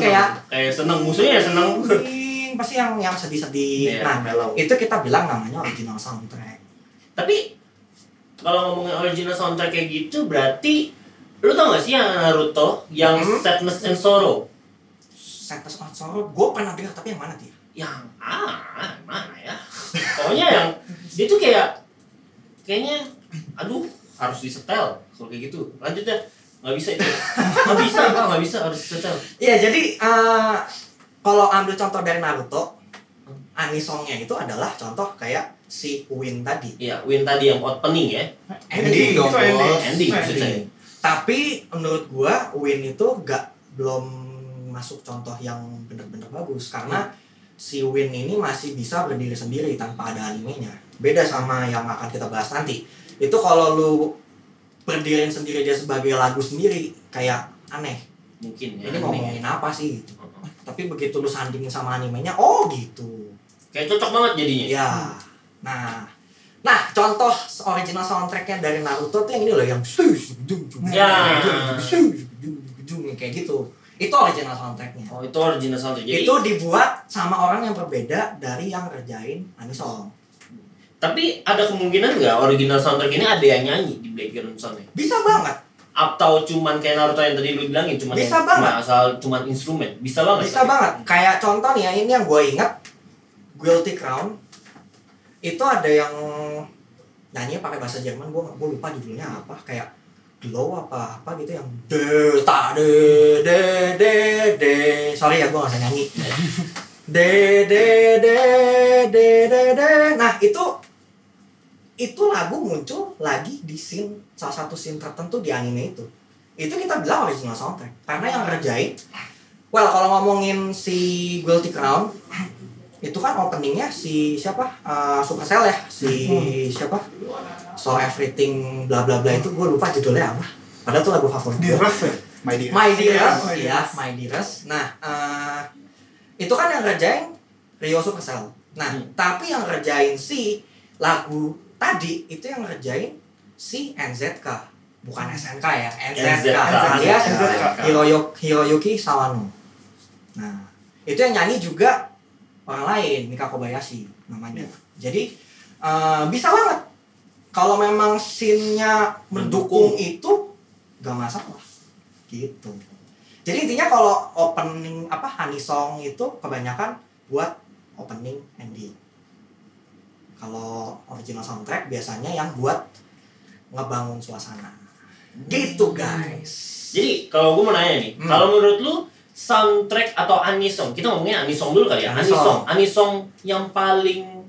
[SPEAKER 2] Seneng.
[SPEAKER 4] kayak
[SPEAKER 2] kayak seneng musuhnya ya seneng
[SPEAKER 4] "Ding," pasti yang yang sedih-sedih
[SPEAKER 2] Iya,
[SPEAKER 4] nah
[SPEAKER 2] mellow.
[SPEAKER 4] itu kita bilang namanya original soundtrack
[SPEAKER 2] Tapi kalau ngomongin original soundtrack kayak gitu berarti lu tau gak sih yang Naruto yang
[SPEAKER 4] Hmm?
[SPEAKER 2] Sadness and Sorrow?
[SPEAKER 4] Sadness of Sorrow gue pernah dengar tapi yang mana dia
[SPEAKER 2] Yang ah mana ya? Pokoknya yang dia tuh kayak kayaknya aduh harus disetel kalau kayak gitu. Lanjut deh. Nggak bisa itu. Nggak bisa, Pak. Nggak bisa. Harus setel.
[SPEAKER 4] Iya, jadi eh, kalau ambil contoh dari Naruto, anisongnya itu adalah contoh kayak si Win tadi.
[SPEAKER 2] Iya, Win tadi yang opening ya.
[SPEAKER 3] Ending
[SPEAKER 4] Ending.
[SPEAKER 3] dong
[SPEAKER 5] Itu ending.
[SPEAKER 3] bos.
[SPEAKER 2] Ending maksud saya.
[SPEAKER 4] Tapi menurut gua Win itu gak belum masuk contoh yang bener-bener bagus karena si Win ini masih bisa berdiri sendiri tanpa ada animenya. Beda sama yang akan kita bahas nanti. Itu kalau lu berdirin sendiri dia sebagai lagu sendiri kayak aneh.
[SPEAKER 2] Mungkin ya.
[SPEAKER 4] Ini mau ngomongin apa sih gitu.
[SPEAKER 2] Heeh.
[SPEAKER 4] Tapi begitu lu sandingin sama animenya, oh gitu.
[SPEAKER 2] Kayak cocok banget jadinya.
[SPEAKER 4] Ya. Nah, nah contoh original soundtracknya dari Naruto tuh yang ini loh yang
[SPEAKER 2] Ya.
[SPEAKER 4] kayak gitu. Itu original soundtracknya.
[SPEAKER 2] Oh, itu original soundtrack. Jadi,
[SPEAKER 4] itu dibuat sama orang yang berbeda dari yang ngerjain anisong.
[SPEAKER 2] tapi ada kemungkinan nggak original soundtrack ini ada yang nyanyi di background soundnya?
[SPEAKER 4] Bisa banget,
[SPEAKER 2] Atau cuman kayak Naruto yang tadi lu bilangin, cuman
[SPEAKER 4] Bisa
[SPEAKER 2] yang-
[SPEAKER 4] banget.
[SPEAKER 2] cuma asal cuman instrumen. Bisa banget. ya?
[SPEAKER 4] bisa
[SPEAKER 2] tapi.
[SPEAKER 4] banget. Kayak contoh nih ya, ini yang gue ingat Guilty Crown itu ada yang nyanyi pakai bahasa Jerman gue gue lupa judulnya apa kayak glow apa apa gitu yang de ta de de de de sorry ya gue gak bisa nyanyi de de de de de de nah itu itu lagu muncul lagi di scene salah satu scene tertentu di anime itu itu kita bilang original soundtrack karena yang ngerjain well kalau ngomongin si Guilty Crown itu kan openingnya si siapa Eh, Supercell ya si siapa So Everything bla bla bla itu gue lupa judulnya apa padahal itu lagu favorit
[SPEAKER 5] Di
[SPEAKER 4] gue
[SPEAKER 5] ref ya?
[SPEAKER 3] My dear.
[SPEAKER 4] My
[SPEAKER 5] Dearest.
[SPEAKER 4] Dearest ya My Dearest nah eh, itu kan yang ngerjain Rio Supercell nah
[SPEAKER 2] Hmm.
[SPEAKER 4] tapi yang ngerjain si lagu tadi itu yang ngerjain si NZK bukan SNK ya NZK,
[SPEAKER 2] NZK.
[SPEAKER 5] Iya,
[SPEAKER 4] alias
[SPEAKER 5] NZK.
[SPEAKER 4] Hiroyuki, Hiroyuki Sawano. Nah, itu yang nyanyi juga orang lain, Mika Kobayashi namanya. Jadi eh, bisa banget. Kalau memang scene-nya mendukung itu gak masalah. Gitu. Jadi intinya kalau opening apa honey song itu kebanyakan buat opening ending. Kalau original soundtrack biasanya yang buat ngebangun suasana. Gitu guys.
[SPEAKER 2] Jadi kalau gue mau nanya nih,
[SPEAKER 4] Hmm.
[SPEAKER 2] kalau menurut lu soundtrack atau anisong, kita ngomongnya anisong dulu kali ya. Anisong,
[SPEAKER 4] Anisong.
[SPEAKER 2] anisong yang paling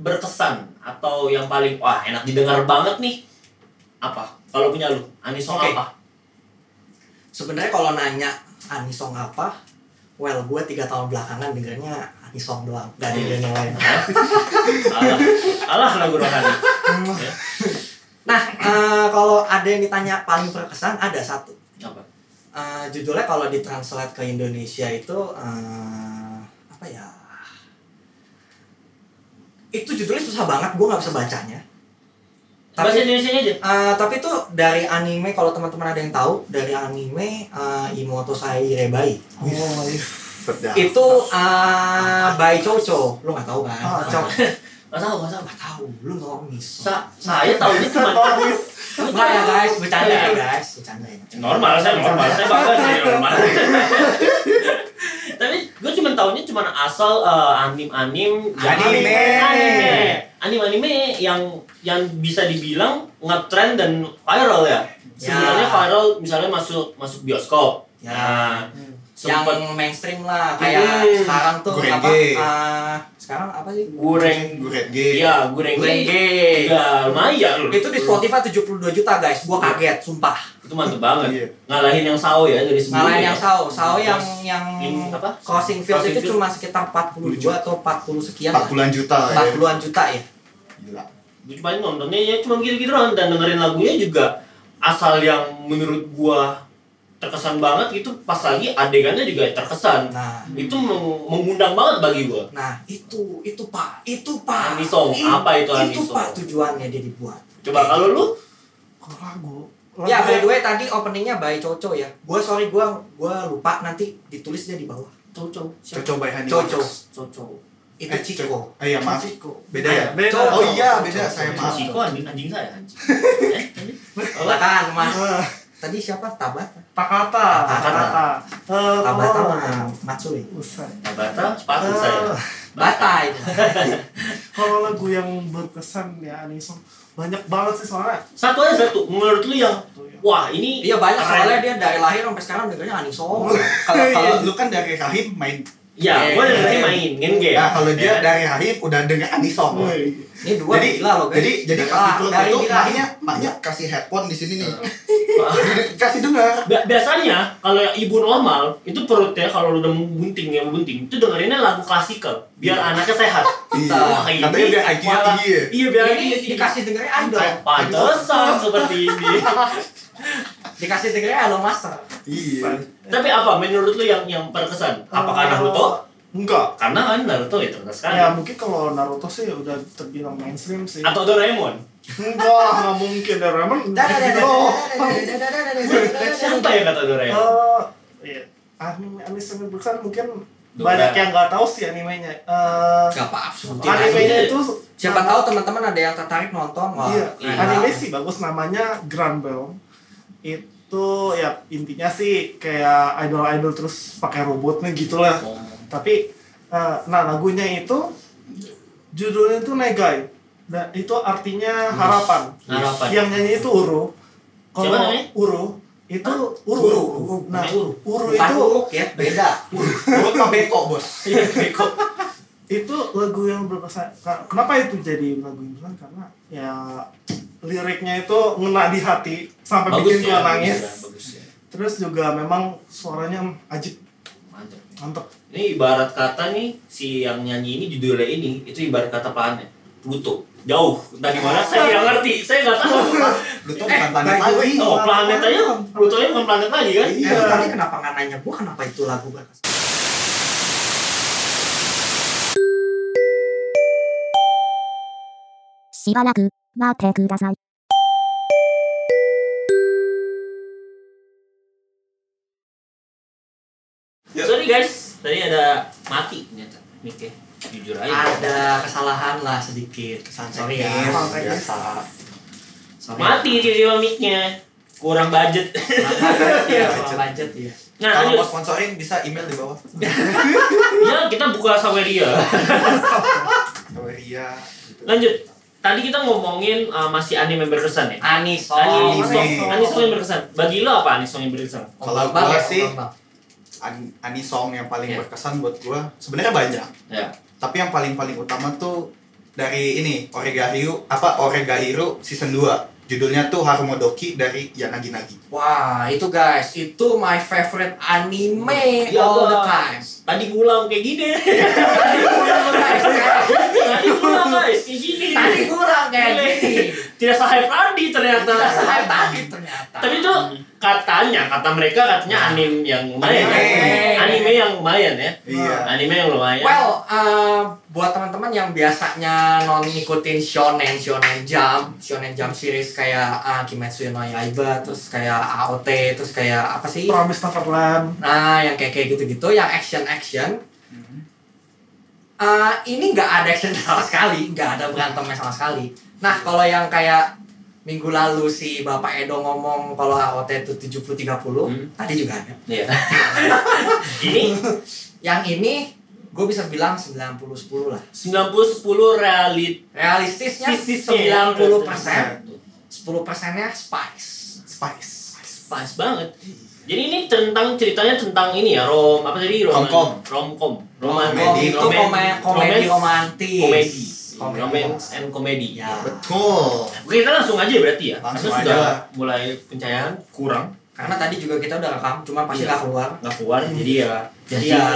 [SPEAKER 2] berkesan atau yang paling wah enak didengar banget nih apa? Kalau punya lu, anisong
[SPEAKER 4] Oke.
[SPEAKER 2] apa?
[SPEAKER 4] sebenarnya kalau nanya anisong apa well gue tiga tahun belakangan dengernya anisong doang gak ada yang lain
[SPEAKER 2] Alah, alah lagu rohani. Ya,
[SPEAKER 4] nah eh, kalau ada yang ditanya paling berkesan ada satu
[SPEAKER 2] apa?
[SPEAKER 4] Eh, judulnya kalau ditranslate ke Indonesia itu eh, apa ya itu judulnya susah banget gue nggak bisa bacanya
[SPEAKER 2] Bahasa Indonesia aja.
[SPEAKER 4] Eh, tapi itu dari anime kalau teman-teman ada yang tahu dari anime eh, Imoto Sairebai
[SPEAKER 5] Oh iya.
[SPEAKER 3] Sedap.
[SPEAKER 4] itu eh by Coco lu nggak tahu kan
[SPEAKER 5] Ah, Coco.
[SPEAKER 2] Gak tau, gak tau.
[SPEAKER 4] nggak tahu lu normis
[SPEAKER 2] Sa saya tahunya cuma
[SPEAKER 4] nggak ya guys bercanda ya guys bercanda ya
[SPEAKER 2] normal saya normal saya bangga saya normal tapi gue cuma tahunya cuma asal anim anim
[SPEAKER 3] Anime.
[SPEAKER 2] anime anim anime yang yang bisa dibilang ngetrend dan viral ya sebenarnya
[SPEAKER 4] Ya.
[SPEAKER 2] viral misalnya masuk masuk bioskop
[SPEAKER 4] Ya.
[SPEAKER 2] nah
[SPEAKER 4] yang
[SPEAKER 2] sempat
[SPEAKER 4] mainstream lah kayak
[SPEAKER 2] Hmm.
[SPEAKER 4] sekarang tuh
[SPEAKER 3] Gurenge.
[SPEAKER 4] apa eh, sekarang apa sih
[SPEAKER 2] goreng
[SPEAKER 3] Gue Red Gate.
[SPEAKER 2] iya goreng
[SPEAKER 4] Gurenge.
[SPEAKER 2] ya lumayan loh
[SPEAKER 4] itu di Spotify 72 juta
[SPEAKER 2] Iya.
[SPEAKER 4] guys gua kaget sumpah
[SPEAKER 2] itu mantep banget
[SPEAKER 3] Iya.
[SPEAKER 2] ngalahin yang sao ya dari sebelumnya
[SPEAKER 4] ngalahin yang Sao Sao
[SPEAKER 2] Terus
[SPEAKER 4] yang yang
[SPEAKER 2] Iya. yang apa?
[SPEAKER 4] crossing field
[SPEAKER 2] Crossing
[SPEAKER 4] itu
[SPEAKER 2] Fields.
[SPEAKER 4] cuma sekitar 42 atau 40 sekian lah
[SPEAKER 3] 40-an juta lah ya.
[SPEAKER 4] 40-an juta ya
[SPEAKER 3] Gila.
[SPEAKER 2] gue cuma nontonnya ya cuma gitu-gitu doang dan dengerin lagunya juga asal yang menurut gua terkesan banget gitu pas lagi adegannya juga terkesan
[SPEAKER 4] nah
[SPEAKER 2] itu meng- mengundang banget bagi gua
[SPEAKER 4] nah itu itu pak itu pak
[SPEAKER 2] Anisong. Apa itu
[SPEAKER 4] itu
[SPEAKER 2] Anisong?
[SPEAKER 4] pak tujuannya dia dibuat
[SPEAKER 2] coba kalau lu
[SPEAKER 5] Kok lagu?
[SPEAKER 4] Ya, by the
[SPEAKER 5] Lagu-
[SPEAKER 4] way tadi openingnya by Coco ya. Gua sorry gua gua lupa nanti ditulisnya di bawah.
[SPEAKER 2] coco
[SPEAKER 3] Coco by Honey.
[SPEAKER 4] Coco.
[SPEAKER 3] Box.
[SPEAKER 2] coco
[SPEAKER 4] Itu
[SPEAKER 3] Eh,
[SPEAKER 4] Chico.
[SPEAKER 3] Co- Ah, iya, maaf.
[SPEAKER 5] Ciko.
[SPEAKER 3] Beda ya?
[SPEAKER 5] Beda.
[SPEAKER 4] Cowok.
[SPEAKER 3] Oh iya, beda. Saya maaf.
[SPEAKER 2] Ciko anjing anjing saya anjing eh anjing Apa?
[SPEAKER 4] Lah kan, Mas.
[SPEAKER 5] Ah,
[SPEAKER 4] Tadi siapa? Tabata.
[SPEAKER 5] Takata.
[SPEAKER 4] Takata.
[SPEAKER 5] Takata. Eh,
[SPEAKER 4] Tabata
[SPEAKER 5] kalau-
[SPEAKER 4] sama Matsui.
[SPEAKER 5] Usai.
[SPEAKER 2] Tabata sepatu
[SPEAKER 3] Ah.
[SPEAKER 5] Eh,
[SPEAKER 2] saya
[SPEAKER 4] Bata itu.
[SPEAKER 5] kalau lagu yang berkesan ya Anisong banyak banget sih soalnya
[SPEAKER 2] Satu aja satu. Menurut lu yang
[SPEAKER 3] ya.
[SPEAKER 2] wah ini
[SPEAKER 4] Iya banyak
[SPEAKER 2] keren.
[SPEAKER 4] soalnya dia dari lahir sampai sekarang dengernya Ani Song.
[SPEAKER 3] Kalau
[SPEAKER 4] iya.
[SPEAKER 3] kalau lu kan dari rahim main.
[SPEAKER 2] Iya, gua
[SPEAKER 3] Iya.
[SPEAKER 2] dengerin main game game.
[SPEAKER 3] Nah, kalau dia
[SPEAKER 2] ya.
[SPEAKER 3] dari rahim udah denger anisong.
[SPEAKER 5] Iya.
[SPEAKER 4] Ini dua
[SPEAKER 3] jadi
[SPEAKER 4] gila loh guys.
[SPEAKER 3] jadi jadi pas
[SPEAKER 4] Ah,
[SPEAKER 3] dipulang
[SPEAKER 4] dari
[SPEAKER 3] itu
[SPEAKER 4] gila.
[SPEAKER 3] maknya maknya kasih headphone di sini nih. Di- Kasih dengar.
[SPEAKER 2] Bi- biasanya kalau ibu normal itu perutnya kalau udah membunting ya membunting itu dengerinnya lagu klasikal biar anaknya sehat.
[SPEAKER 3] Iya.
[SPEAKER 2] ini
[SPEAKER 3] Katanya biar IQ -nya
[SPEAKER 2] malah-
[SPEAKER 3] tinggi ya.
[SPEAKER 2] Iya biar
[SPEAKER 4] Ini
[SPEAKER 2] ini dikasih
[SPEAKER 4] dikasih dengernya Idol.
[SPEAKER 2] pantesan
[SPEAKER 3] gitu.
[SPEAKER 2] seperti ini.
[SPEAKER 4] Dikasih dengernya Idol Master.
[SPEAKER 3] Iya.
[SPEAKER 2] Tapi apa menurut lu yang yang berkesan? Apakah
[SPEAKER 3] Hmm.
[SPEAKER 2] Naruto?
[SPEAKER 5] Eh, enggak
[SPEAKER 2] Karena kan Naruto ya terkenal sekali.
[SPEAKER 3] Iya.
[SPEAKER 5] ya mungkin kalau Naruto sih udah terbilang mainstream sih
[SPEAKER 2] Atau Doraemon?
[SPEAKER 5] enggak nggak mungkin ya, Doraemon Oh.
[SPEAKER 2] Siapa yang kata Doraemon?
[SPEAKER 3] Oh.
[SPEAKER 5] Eh, iya. anime anime sebesar mungkin
[SPEAKER 2] Dora.
[SPEAKER 5] banyak yang nggak tahu sih animenya Eh,
[SPEAKER 4] Gak apa-apa. sebutin aja.
[SPEAKER 5] animenya itu
[SPEAKER 4] Siapa tahu teman-teman ada yang tertarik nonton. Wah,
[SPEAKER 5] iya,
[SPEAKER 4] iya.
[SPEAKER 5] anime sih bagus namanya Grand Bell. Itu ya intinya sih kayak idol-idol terus pakai robotnya gitu lah. Tapi eh, nah lagunya itu judulnya itu Negai. Dan itu artinya harapan.
[SPEAKER 2] Harapan.
[SPEAKER 5] Yang nyanyi itu Uru.
[SPEAKER 2] Siapa
[SPEAKER 5] Kalau
[SPEAKER 2] namanya?
[SPEAKER 5] Uru itu Uru.
[SPEAKER 4] Uru.
[SPEAKER 5] Nah,
[SPEAKER 2] Namanya Uru.
[SPEAKER 5] Uru
[SPEAKER 4] Bukan
[SPEAKER 5] itu
[SPEAKER 4] Uruk ya, beda.
[SPEAKER 3] Gue sama Beko, Bos.
[SPEAKER 2] Iya, Beko.
[SPEAKER 5] itu lagu yang berpesan ka- kenapa itu jadi lagu yang berpesan karena ya liriknya itu ngena di hati sampai
[SPEAKER 2] Bagus
[SPEAKER 5] bikin gua
[SPEAKER 2] ya.
[SPEAKER 5] nangis
[SPEAKER 2] iya, Bagus ya.
[SPEAKER 5] terus juga memang suaranya ajib
[SPEAKER 2] Mantap.
[SPEAKER 5] mantep
[SPEAKER 2] Ini ibarat kata nih si yang nyanyi ini judulnya ini itu ibarat kata pahannya Pluto jauh dari mana saya nggak ngerti saya nggak tahu
[SPEAKER 3] Pluto
[SPEAKER 4] Eh,
[SPEAKER 3] bukan planet
[SPEAKER 4] by the way,
[SPEAKER 3] lagi.
[SPEAKER 2] oh planet aja Pluto nya bukan planet lagi kan
[SPEAKER 4] Eh,
[SPEAKER 3] Iya.
[SPEAKER 4] lu tadi kenapa nggak nanya gua kenapa itu lagu berkesan?
[SPEAKER 6] しばらく待ってください。
[SPEAKER 4] Iya.
[SPEAKER 2] sorry guys tadi ada mati ternyata Oke, jujur aja
[SPEAKER 4] Ada kesalahan lah sedikit. Kesan sorry ya.
[SPEAKER 3] Yes,
[SPEAKER 5] Santai, guys.
[SPEAKER 4] Biasa. Sorry.
[SPEAKER 2] mati tiba-tiba mic-nya kurang budget
[SPEAKER 4] ya, soal budget ya.
[SPEAKER 2] nah
[SPEAKER 3] Kalau mau
[SPEAKER 2] lanjut
[SPEAKER 3] sponsorin bisa email di bawah.
[SPEAKER 2] ya kita buka saweria
[SPEAKER 3] Sama Ria.
[SPEAKER 2] lanjut tadi kita ngomongin uh, masih anime berkesan ya Anis,
[SPEAKER 4] Anis, Anis,
[SPEAKER 2] Anisong Anisong yang berkesan. Bagi lo apa Anisong yang berkesan?
[SPEAKER 3] Kalau
[SPEAKER 4] Ombak
[SPEAKER 3] gua
[SPEAKER 4] ya,
[SPEAKER 3] sih-
[SPEAKER 4] ombak.
[SPEAKER 3] An- Ani song yang paling
[SPEAKER 2] Iya.
[SPEAKER 3] berkesan buat gua sebenarnya banyak.
[SPEAKER 2] Ya.
[SPEAKER 3] Tapi yang paling-paling utama tuh dari ini Oregairu apa Oregairu season 2. Judulnya tuh Harumodoki dari Yanagi Nagi.
[SPEAKER 4] Wah, itu guys, itu my favorite anime
[SPEAKER 2] Ya
[SPEAKER 4] all the
[SPEAKER 2] Allah.
[SPEAKER 4] time.
[SPEAKER 2] Tadi ngulang kayak gini.
[SPEAKER 4] Tadi kurang guys, kayak
[SPEAKER 2] Tadi ngulang guys, kayak gini.
[SPEAKER 4] tadi kurang kayak gini.
[SPEAKER 2] Tidak sehype Randi ternyata.
[SPEAKER 4] Tidak sehype tadi ternyata.
[SPEAKER 2] Tapi itu katanya, kata mereka katanya anime yang lumayan. ya.
[SPEAKER 3] Anime.
[SPEAKER 2] Anime yang lumayan ya.
[SPEAKER 3] Iya.
[SPEAKER 2] Anime yang lumayan.
[SPEAKER 4] Well, eh, buat teman-teman yang biasanya non ngikutin shonen, shonen jump, shonen jump series kayak ah, Kimetsu no Yaiba, terus kayak AOT, terus kayak apa sih?
[SPEAKER 5] Promise Neverland
[SPEAKER 4] Nah, yang kayak kayak gitu-gitu, yang action-action. Eh, ini nggak ada action sama sekali, nggak ada berantemnya sama sekali. Nah, kalau yang kayak minggu lalu si Bapak Edo ngomong kalau AOT itu 70-30,
[SPEAKER 2] Hmm.
[SPEAKER 4] tadi juga ada.
[SPEAKER 2] Iya. Ini
[SPEAKER 4] Yang ini gue bisa bilang 90-10 lah.
[SPEAKER 2] 90-10 realit
[SPEAKER 4] Realistisnya
[SPEAKER 2] sisisnya.
[SPEAKER 4] 90 persen, 10 persennya spice.
[SPEAKER 3] Spice.
[SPEAKER 2] Pas banget. Jadi ini tentang ceritanya tentang ini ya rom apa tadi rom
[SPEAKER 3] Romcom.
[SPEAKER 2] romcom
[SPEAKER 4] Oh,
[SPEAKER 2] romantis
[SPEAKER 3] Komedi,
[SPEAKER 4] itu kome- komedi romantis.
[SPEAKER 2] komedi
[SPEAKER 4] Komedi.
[SPEAKER 2] romance and komedi
[SPEAKER 4] Ya.
[SPEAKER 3] Betul.
[SPEAKER 2] Oke, kita langsung aja berarti ya.
[SPEAKER 3] Langsung
[SPEAKER 2] Karena
[SPEAKER 3] aja
[SPEAKER 2] sudah
[SPEAKER 3] lah.
[SPEAKER 2] mulai pencahayaan kurang,
[SPEAKER 4] Karena tadi juga kita udah rekam, cuma pasti
[SPEAKER 2] Iya.
[SPEAKER 4] nggak keluar.
[SPEAKER 2] nggak keluar, jadi
[SPEAKER 4] Iya.
[SPEAKER 2] ya.
[SPEAKER 4] Jadi ya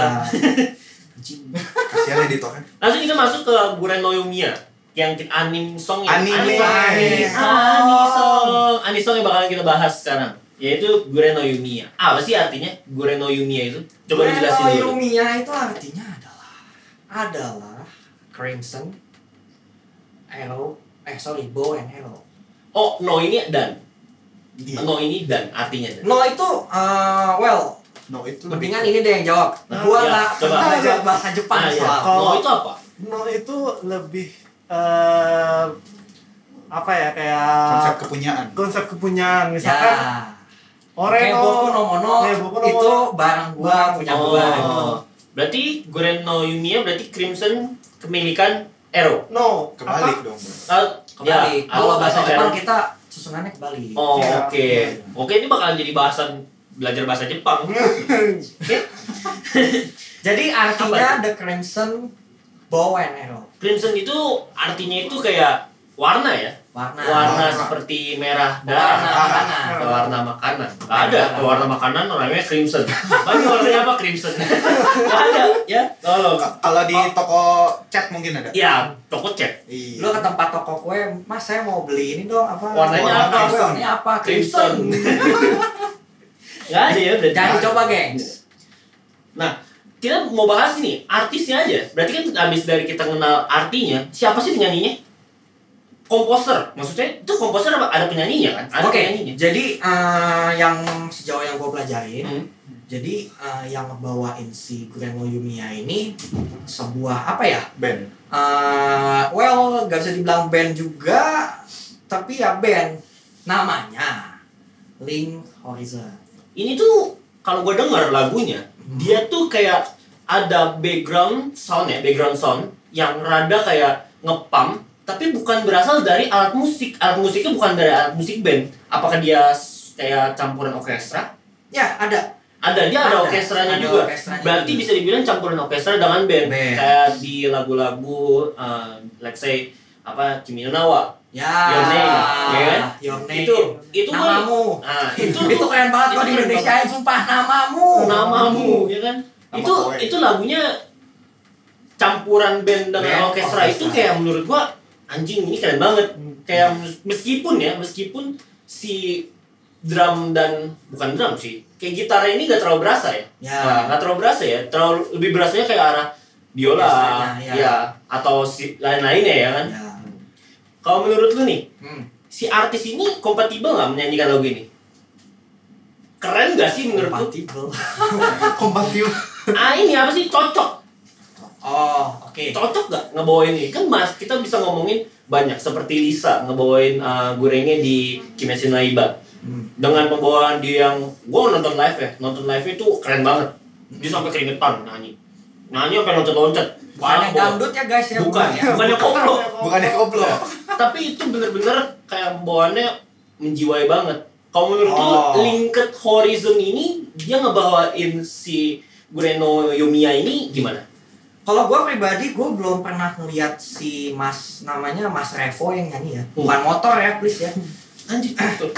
[SPEAKER 3] Kasihan editornya.
[SPEAKER 2] Langsung kita masuk ke Guren no Yumiya yang kita anim song yang
[SPEAKER 3] Anime.
[SPEAKER 4] Ah,
[SPEAKER 2] anime
[SPEAKER 4] Anisong.
[SPEAKER 2] song anime song yang bakalan kita bahas sekarang yaitu Guren no Yumiya. Apa sih artinya Guren no Yumiya itu? Coba
[SPEAKER 4] Bueno
[SPEAKER 2] dijelasin dulu.
[SPEAKER 4] Yumiya Nah, itu artinya adalah adalah Crimson Arrow eh sorry Bow and Arrow.
[SPEAKER 2] Oh, no ini dan.
[SPEAKER 3] Iya.
[SPEAKER 2] No ini dan artinya dan.
[SPEAKER 4] No itu eh, well
[SPEAKER 3] No itu
[SPEAKER 4] mendingan ini deh yang jawab. Gua
[SPEAKER 2] iya,
[SPEAKER 4] nggak
[SPEAKER 2] coba.
[SPEAKER 4] pernah jawab bahasa Jepang
[SPEAKER 2] Nah, ya.
[SPEAKER 4] soal.
[SPEAKER 2] No itu apa?
[SPEAKER 5] no Nah, itu lebih eh apa ya kayak
[SPEAKER 3] konsep kepunyaan.
[SPEAKER 5] konsep kepunyaan
[SPEAKER 4] Ya.
[SPEAKER 5] misalkan
[SPEAKER 4] Kayak
[SPEAKER 5] Oreno
[SPEAKER 4] Boku no Mono
[SPEAKER 5] Kayak Boku no
[SPEAKER 4] itu
[SPEAKER 5] Mono.
[SPEAKER 4] barang gua punya gua. gitu.
[SPEAKER 2] Oh. Berarti Guren no Yumiya berarti Crimson kemilikan Arrow.
[SPEAKER 5] no apa?
[SPEAKER 3] Kebalik dong.
[SPEAKER 2] Ah,
[SPEAKER 4] kebalik.
[SPEAKER 2] Ya,
[SPEAKER 4] Kalau
[SPEAKER 2] aku-
[SPEAKER 4] bahasa
[SPEAKER 2] aku
[SPEAKER 4] Jepang
[SPEAKER 2] jarang-
[SPEAKER 4] kita susunannya kebalik.
[SPEAKER 2] Oh, oke.
[SPEAKER 5] Iya.
[SPEAKER 4] gitu.
[SPEAKER 2] Oke, ini bakalan jadi bahasan belajar bahasa Jepang.
[SPEAKER 4] Jadi
[SPEAKER 2] Apa
[SPEAKER 4] artinya The Crimson Bow and Arrow.
[SPEAKER 2] Crimson itu artinya itu kayak warna ya.
[SPEAKER 4] Nah, Warna.
[SPEAKER 2] warna
[SPEAKER 3] warna.
[SPEAKER 2] seperti merah
[SPEAKER 4] Warna
[SPEAKER 2] darah.
[SPEAKER 4] makanan.
[SPEAKER 2] Warna makanan. Gak ada. Kalau warna makanan orangnya crimson. Bagi warnanya apa crimson? Gak ada. Ya, tolong.
[SPEAKER 3] Kalau di toko cat mungkin ada.
[SPEAKER 2] Ya, toko cek.
[SPEAKER 3] Iya.
[SPEAKER 4] Lu ke tempat toko kue, mas saya mau beli ini dong apa?
[SPEAKER 2] Warnanya
[SPEAKER 4] Warna
[SPEAKER 2] apa?
[SPEAKER 4] kue, Warnanya apa?
[SPEAKER 2] Crimson.
[SPEAKER 4] Crimson.
[SPEAKER 2] Gak ada ya berarti.
[SPEAKER 4] Jangan dicoba, gengs.
[SPEAKER 2] Nah, kita mau bahas ini artisnya aja. Berarti kan habis dari kita kenal artinya, siapa sih penyanyinya? Komposer. Maksudnya itu komposer apa? Ada penyanyinya kan? Ada
[SPEAKER 4] Oke.
[SPEAKER 2] penyanyinya.
[SPEAKER 4] Jadi eh, yang sejauh yang gue pelajarin,
[SPEAKER 2] Hmm.
[SPEAKER 4] jadi eh, yang ngebawain si Grand Yumiya ini sebuah apa ya?
[SPEAKER 3] Band.
[SPEAKER 4] Eh, well, gak bisa dibilang band juga, tapi ya band. Namanya Link Horizon.
[SPEAKER 2] Ini tuh kalau gue dengar lagunya, dia tuh kayak ada background sound ya, background sound yang rada kayak ngepam tapi bukan berasal dari alat musik. Alat musiknya bukan dari alat musik band. Apakah dia s- kayak campuran orkestra?
[SPEAKER 4] Ya, ada.
[SPEAKER 2] Ada, dia ada,
[SPEAKER 4] Ada.
[SPEAKER 2] orkestranya
[SPEAKER 4] Ada
[SPEAKER 2] juga.
[SPEAKER 4] orkestranya
[SPEAKER 2] Berarti
[SPEAKER 4] juga.
[SPEAKER 2] bisa dibilang campuran orkestra dengan band.
[SPEAKER 4] Band.
[SPEAKER 2] Kayak di lagu-lagu, uh, let's say apa Kimi no Na wa.
[SPEAKER 4] Ya.
[SPEAKER 2] Your Name, ya kan?
[SPEAKER 4] Your Name.
[SPEAKER 2] Itu, itu kan.
[SPEAKER 4] namamu.
[SPEAKER 2] Nah, itu
[SPEAKER 4] Itu, itu keren banget
[SPEAKER 2] itu
[SPEAKER 4] kalau di
[SPEAKER 2] keren
[SPEAKER 4] Indonesia ya, sumpah namamu.
[SPEAKER 2] namamu, ya kan?
[SPEAKER 3] Nama
[SPEAKER 2] itu
[SPEAKER 3] kowe.
[SPEAKER 2] itu lagunya campuran band dengan
[SPEAKER 4] Band, Hmm.
[SPEAKER 2] orkestra
[SPEAKER 4] orkestra.
[SPEAKER 2] itu kayak menurut gua anjing ini keren banget. Kayak mes- meskipun ya, meskipun si drum dan bukan drum sih, kayak gitar ini gak terlalu berasa ya.
[SPEAKER 4] Ya.
[SPEAKER 2] Nah, gak terlalu berasa ya. Terlalu lebih berasanya kayak arah biola,
[SPEAKER 4] Orkestranya, ya.
[SPEAKER 2] ya. atau si lain-lainnya ya kan.
[SPEAKER 4] Ya.
[SPEAKER 2] Kalau menurut lu nih,
[SPEAKER 4] Hmm.
[SPEAKER 2] si artis ini kompatibel nggak menyanyikan lagu ini? Keren gak sih menurut lu?
[SPEAKER 4] Compatible.
[SPEAKER 5] kompatibel
[SPEAKER 2] Ah ini apa sih cocok?
[SPEAKER 4] Oh, oke.
[SPEAKER 2] cocok gak ngebawain ini kan mas kita bisa ngomongin banyak seperti Lisa ngebawain uh, gorengnya di Kimetsu no Iba
[SPEAKER 4] Hmm.
[SPEAKER 2] dengan pembawaan dia yang gua nonton live ya nonton live itu keren banget dia sampai keringetan nyanyi nyanyi sampai loncat-loncat
[SPEAKER 4] Bukan yang
[SPEAKER 2] Wah,
[SPEAKER 4] dangdut ya guys ya,
[SPEAKER 2] bukan
[SPEAKER 4] ya.
[SPEAKER 2] bukan yang koplo
[SPEAKER 3] Bukannya koplo.
[SPEAKER 2] tapi itu bener-bener kayak pembawaannya menjiwai banget kalau menurut
[SPEAKER 4] Oh.
[SPEAKER 2] lu Linked Horizon ini dia ngebawain si Gureno Yomiya ini gimana?
[SPEAKER 4] Kalau gue pribadi, gue belum pernah ngeliat si Mas namanya Mas Revo yang nyanyi ya.
[SPEAKER 2] Hmm.
[SPEAKER 4] Bukan motor ya, please ya.
[SPEAKER 2] Anjir, betul.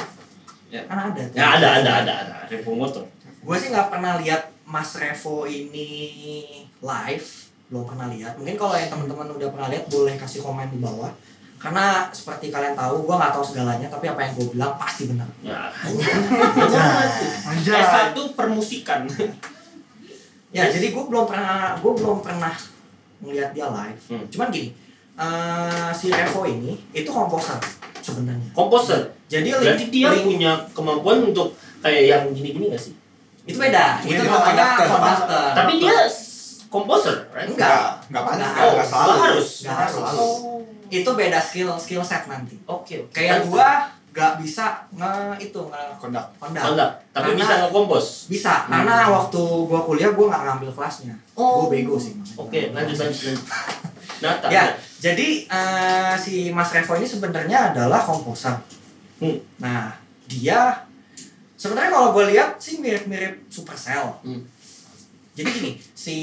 [SPEAKER 4] Kan ada. tuh.
[SPEAKER 2] Ya ada ada ada ada Revo motor.
[SPEAKER 4] Gue sih nggak pernah lihat Mas Revo ini live, belum pernah lihat. Mungkin kalau yang teman-teman udah pernah lihat boleh kasih komen di bawah. Karena seperti kalian tahu, gue nggak tahu segalanya, tapi apa yang gue bilang pasti benar.
[SPEAKER 2] Ya.
[SPEAKER 5] aja
[SPEAKER 2] S1 permusikan.
[SPEAKER 4] Ya, jadi gue belum pernah, gue belum pernah ngeliat dia live.
[SPEAKER 2] Hmm.
[SPEAKER 4] Cuman gini, eh, si Revo ini itu komposer sebenarnya.
[SPEAKER 2] Komposer.
[SPEAKER 4] Jadi link-
[SPEAKER 2] Berarti dia
[SPEAKER 4] link-
[SPEAKER 2] punya kemampuan untuk kayak yang gini-gini gak sih?
[SPEAKER 4] itu beda.
[SPEAKER 3] Dia
[SPEAKER 4] Itu
[SPEAKER 3] dia
[SPEAKER 4] namanya
[SPEAKER 3] konduktor.
[SPEAKER 4] konduktor.
[SPEAKER 2] Tapi dia s- komposer, right? Oh,
[SPEAKER 4] Enggak.
[SPEAKER 3] Enggak pantas.
[SPEAKER 4] Nggak.
[SPEAKER 3] Enggak enggak selalu.
[SPEAKER 2] Nggak harus.
[SPEAKER 4] Nggak harus.
[SPEAKER 3] Selalu.
[SPEAKER 4] Itu beda skill skill set nanti.
[SPEAKER 2] Oh. Oke, oke.
[SPEAKER 4] Kayak
[SPEAKER 2] Kan-
[SPEAKER 4] gua nggak bisa nge itu nge
[SPEAKER 3] Kondak.
[SPEAKER 4] kondak.
[SPEAKER 2] Oh, enggak, tapi
[SPEAKER 4] Karena-
[SPEAKER 2] bisa ngekompos.
[SPEAKER 4] Bisa, karena
[SPEAKER 2] Hmm.
[SPEAKER 4] waktu gua kuliah gua nggak ngambil kelasnya. Gua bego sih. makanya.
[SPEAKER 2] Oke, lanjut lanjut. lanjut. Nata.
[SPEAKER 4] Ya, jadi eh, si Mas Revo ini sebenarnya adalah komposer.
[SPEAKER 2] Hmm.
[SPEAKER 4] Nah, dia sebenarnya kalau gue lihat sih mirip-mirip Supercell.
[SPEAKER 2] Hmm.
[SPEAKER 4] Jadi gini, si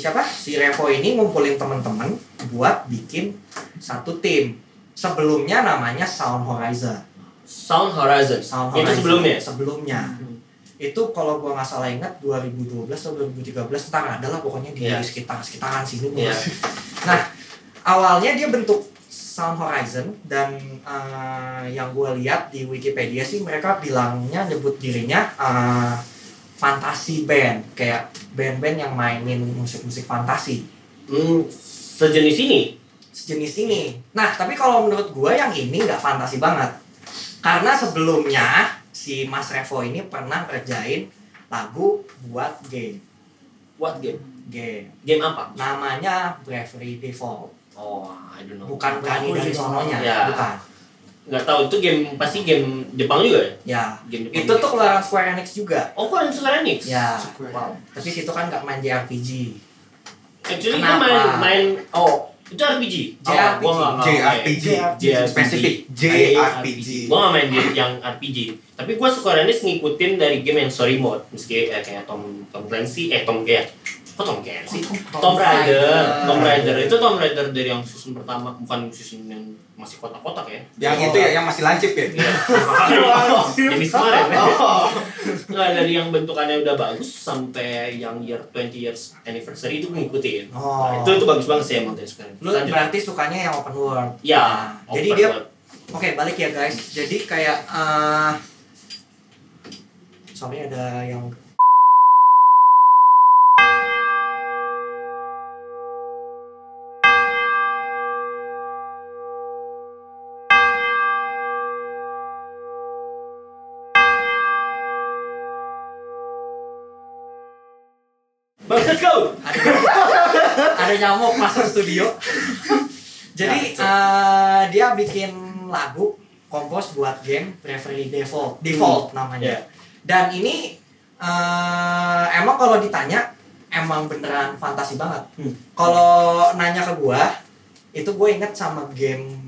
[SPEAKER 4] siapa? Si Revo ini ngumpulin teman-teman buat bikin satu tim. Sebelumnya namanya Sound Horizon.
[SPEAKER 2] Sound Horizon.
[SPEAKER 4] Sound
[SPEAKER 2] Itu
[SPEAKER 4] Horizon.
[SPEAKER 2] sebelumnya.
[SPEAKER 4] Sebelumnya.
[SPEAKER 2] Hmm.
[SPEAKER 4] Itu kalau gua nggak salah ingat 2012 atau 2013 entar adalah pokoknya di
[SPEAKER 2] Iya.
[SPEAKER 4] sekitar sekitaran sini gua
[SPEAKER 2] Iya.
[SPEAKER 4] Nah, awalnya dia bentuk Sound Horizon dan eh, yang gue lihat di Wikipedia sih mereka bilangnya nyebut dirinya eh, fantasi band kayak band-band yang mainin musik-musik fantasi
[SPEAKER 2] Hmm, sejenis ini.
[SPEAKER 4] sejenis ini. Nah, tapi kalau menurut gue yang ini nggak fantasi banget karena sebelumnya si Mas Revo ini pernah ngerjain lagu buat game
[SPEAKER 2] What game?
[SPEAKER 4] game
[SPEAKER 2] Game apa?
[SPEAKER 4] namanya Bravery Default
[SPEAKER 2] Oh, I don't know.
[SPEAKER 4] bukan berani dari sononya
[SPEAKER 2] Ya.
[SPEAKER 4] bukan
[SPEAKER 2] Nggak tahu itu game pasti game Jepang juga ya?
[SPEAKER 4] ya
[SPEAKER 2] Game Jepang.
[SPEAKER 4] itu tuh keluaran Square Enix juga
[SPEAKER 2] Oh, kok ada Square Enix?
[SPEAKER 4] ya
[SPEAKER 3] Square
[SPEAKER 4] wow. tapi situ kan nggak main JRPG
[SPEAKER 2] Actually
[SPEAKER 4] Kenapa?
[SPEAKER 2] kan main main oh Itu RPG.
[SPEAKER 4] JRPG.
[SPEAKER 2] Oh, Gua
[SPEAKER 3] Ah,
[SPEAKER 2] nggak- nggak-
[SPEAKER 3] JRPG.
[SPEAKER 2] JRPG.
[SPEAKER 3] Spesifik, JRPG.
[SPEAKER 2] Gue gak main game yang RPG. Tapi gue Square Enix ngikutin dari game yang story mode. Meski eh, kayak Tom Tom Clancy, eh Tom Gaya. Kok Tom Clancy? Tom Raider. Tom Raider. Itu Tom Raider dari yang season pertama. Bukan season yang masih kotak-kotak ya.
[SPEAKER 3] Yang itu ya, yang masih lancip ya.
[SPEAKER 4] Iya.
[SPEAKER 2] Ini kemarin.
[SPEAKER 4] Oh.
[SPEAKER 2] Nggak dari yang bentukannya udah bagus sampai yang year 20 years anniversary itu ngikutin.
[SPEAKER 4] Oh.
[SPEAKER 2] Nah, itu itu bagus banget sih emang dari Square Enix.
[SPEAKER 4] Lu
[SPEAKER 2] Lanjut.
[SPEAKER 4] berarti sukanya yang open world.
[SPEAKER 2] Ya.
[SPEAKER 4] Nah, jadi
[SPEAKER 2] open
[SPEAKER 4] dia
[SPEAKER 2] world.
[SPEAKER 4] Oke, balik ya guys. Jadi kayak eh sorry ada yang
[SPEAKER 2] Bangsat kau.
[SPEAKER 4] ada, ada nyamuk masuk studio.
[SPEAKER 2] Nah,
[SPEAKER 4] Jadi eh, dia bikin lagu kompos buat game Bravery Default, Default namanya.
[SPEAKER 2] Iya.
[SPEAKER 4] Dan ini eh, emang kalau ditanya emang beneran fantasi banget.
[SPEAKER 2] Hmm.
[SPEAKER 4] Kalau nanya ke gua, itu gue inget sama game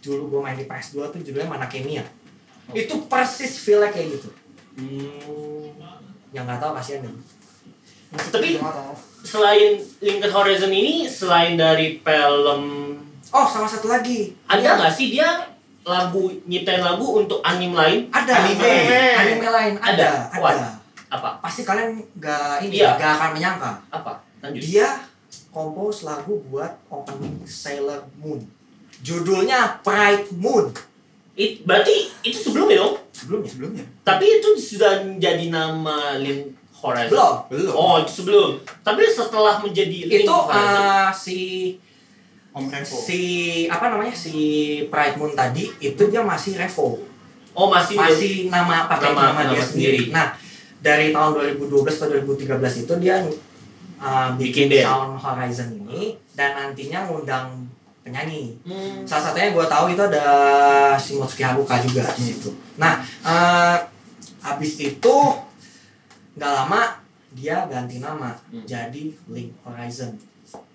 [SPEAKER 4] dulu gue main di PS2 tuh judulnya Mana Kimia. Itu persis feel kayak gitu. Yang nggak tahu kasihan deh.
[SPEAKER 2] Tapi selain Lincoln Horizon ini selain dari film
[SPEAKER 4] Oh, sama satu lagi.
[SPEAKER 2] ada
[SPEAKER 4] Iya.
[SPEAKER 2] nggak sih dia lagu nyiptain lagu untuk anime lain
[SPEAKER 4] ada
[SPEAKER 3] Anime.
[SPEAKER 4] anime lain ada ada,
[SPEAKER 2] Wah. apa
[SPEAKER 4] pasti kalian nggak ini
[SPEAKER 2] Iya.
[SPEAKER 4] nggak akan menyangka
[SPEAKER 2] apa lanjut
[SPEAKER 4] dia kompos lagu buat opening Sailor Moon judulnya Pride Moon
[SPEAKER 2] It- berarti itu sebelumnya dong
[SPEAKER 4] sebelumnya
[SPEAKER 3] Sebelumnya.
[SPEAKER 2] tapi itu sudah jadi nama Link Horizon
[SPEAKER 4] belum
[SPEAKER 3] Belum.
[SPEAKER 2] oh itu sebelum tapi setelah menjadi Link
[SPEAKER 4] itu
[SPEAKER 2] Horizon
[SPEAKER 4] eh, si
[SPEAKER 3] Om Revo.
[SPEAKER 4] si apa namanya si Pride Moon tadi itu dia masih revo
[SPEAKER 2] oh masih
[SPEAKER 4] masih nama pakai Iya. nama,
[SPEAKER 2] Nama- nama
[SPEAKER 4] dia sendiri.
[SPEAKER 2] sendiri.
[SPEAKER 4] Nah, dari tahun 2012 ke 2013 itu dia uh, bikin
[SPEAKER 2] Bikin band.
[SPEAKER 4] Sound Horizon ini dan nantinya ngundang penyanyi.
[SPEAKER 2] Hmm.
[SPEAKER 4] Salah satunya yang gue tahu itu ada Shimotsuki Haruka juga di situ. Nah, eh habis itu nggak lama dia ganti nama
[SPEAKER 2] Hmm.
[SPEAKER 4] jadi Link Horizon.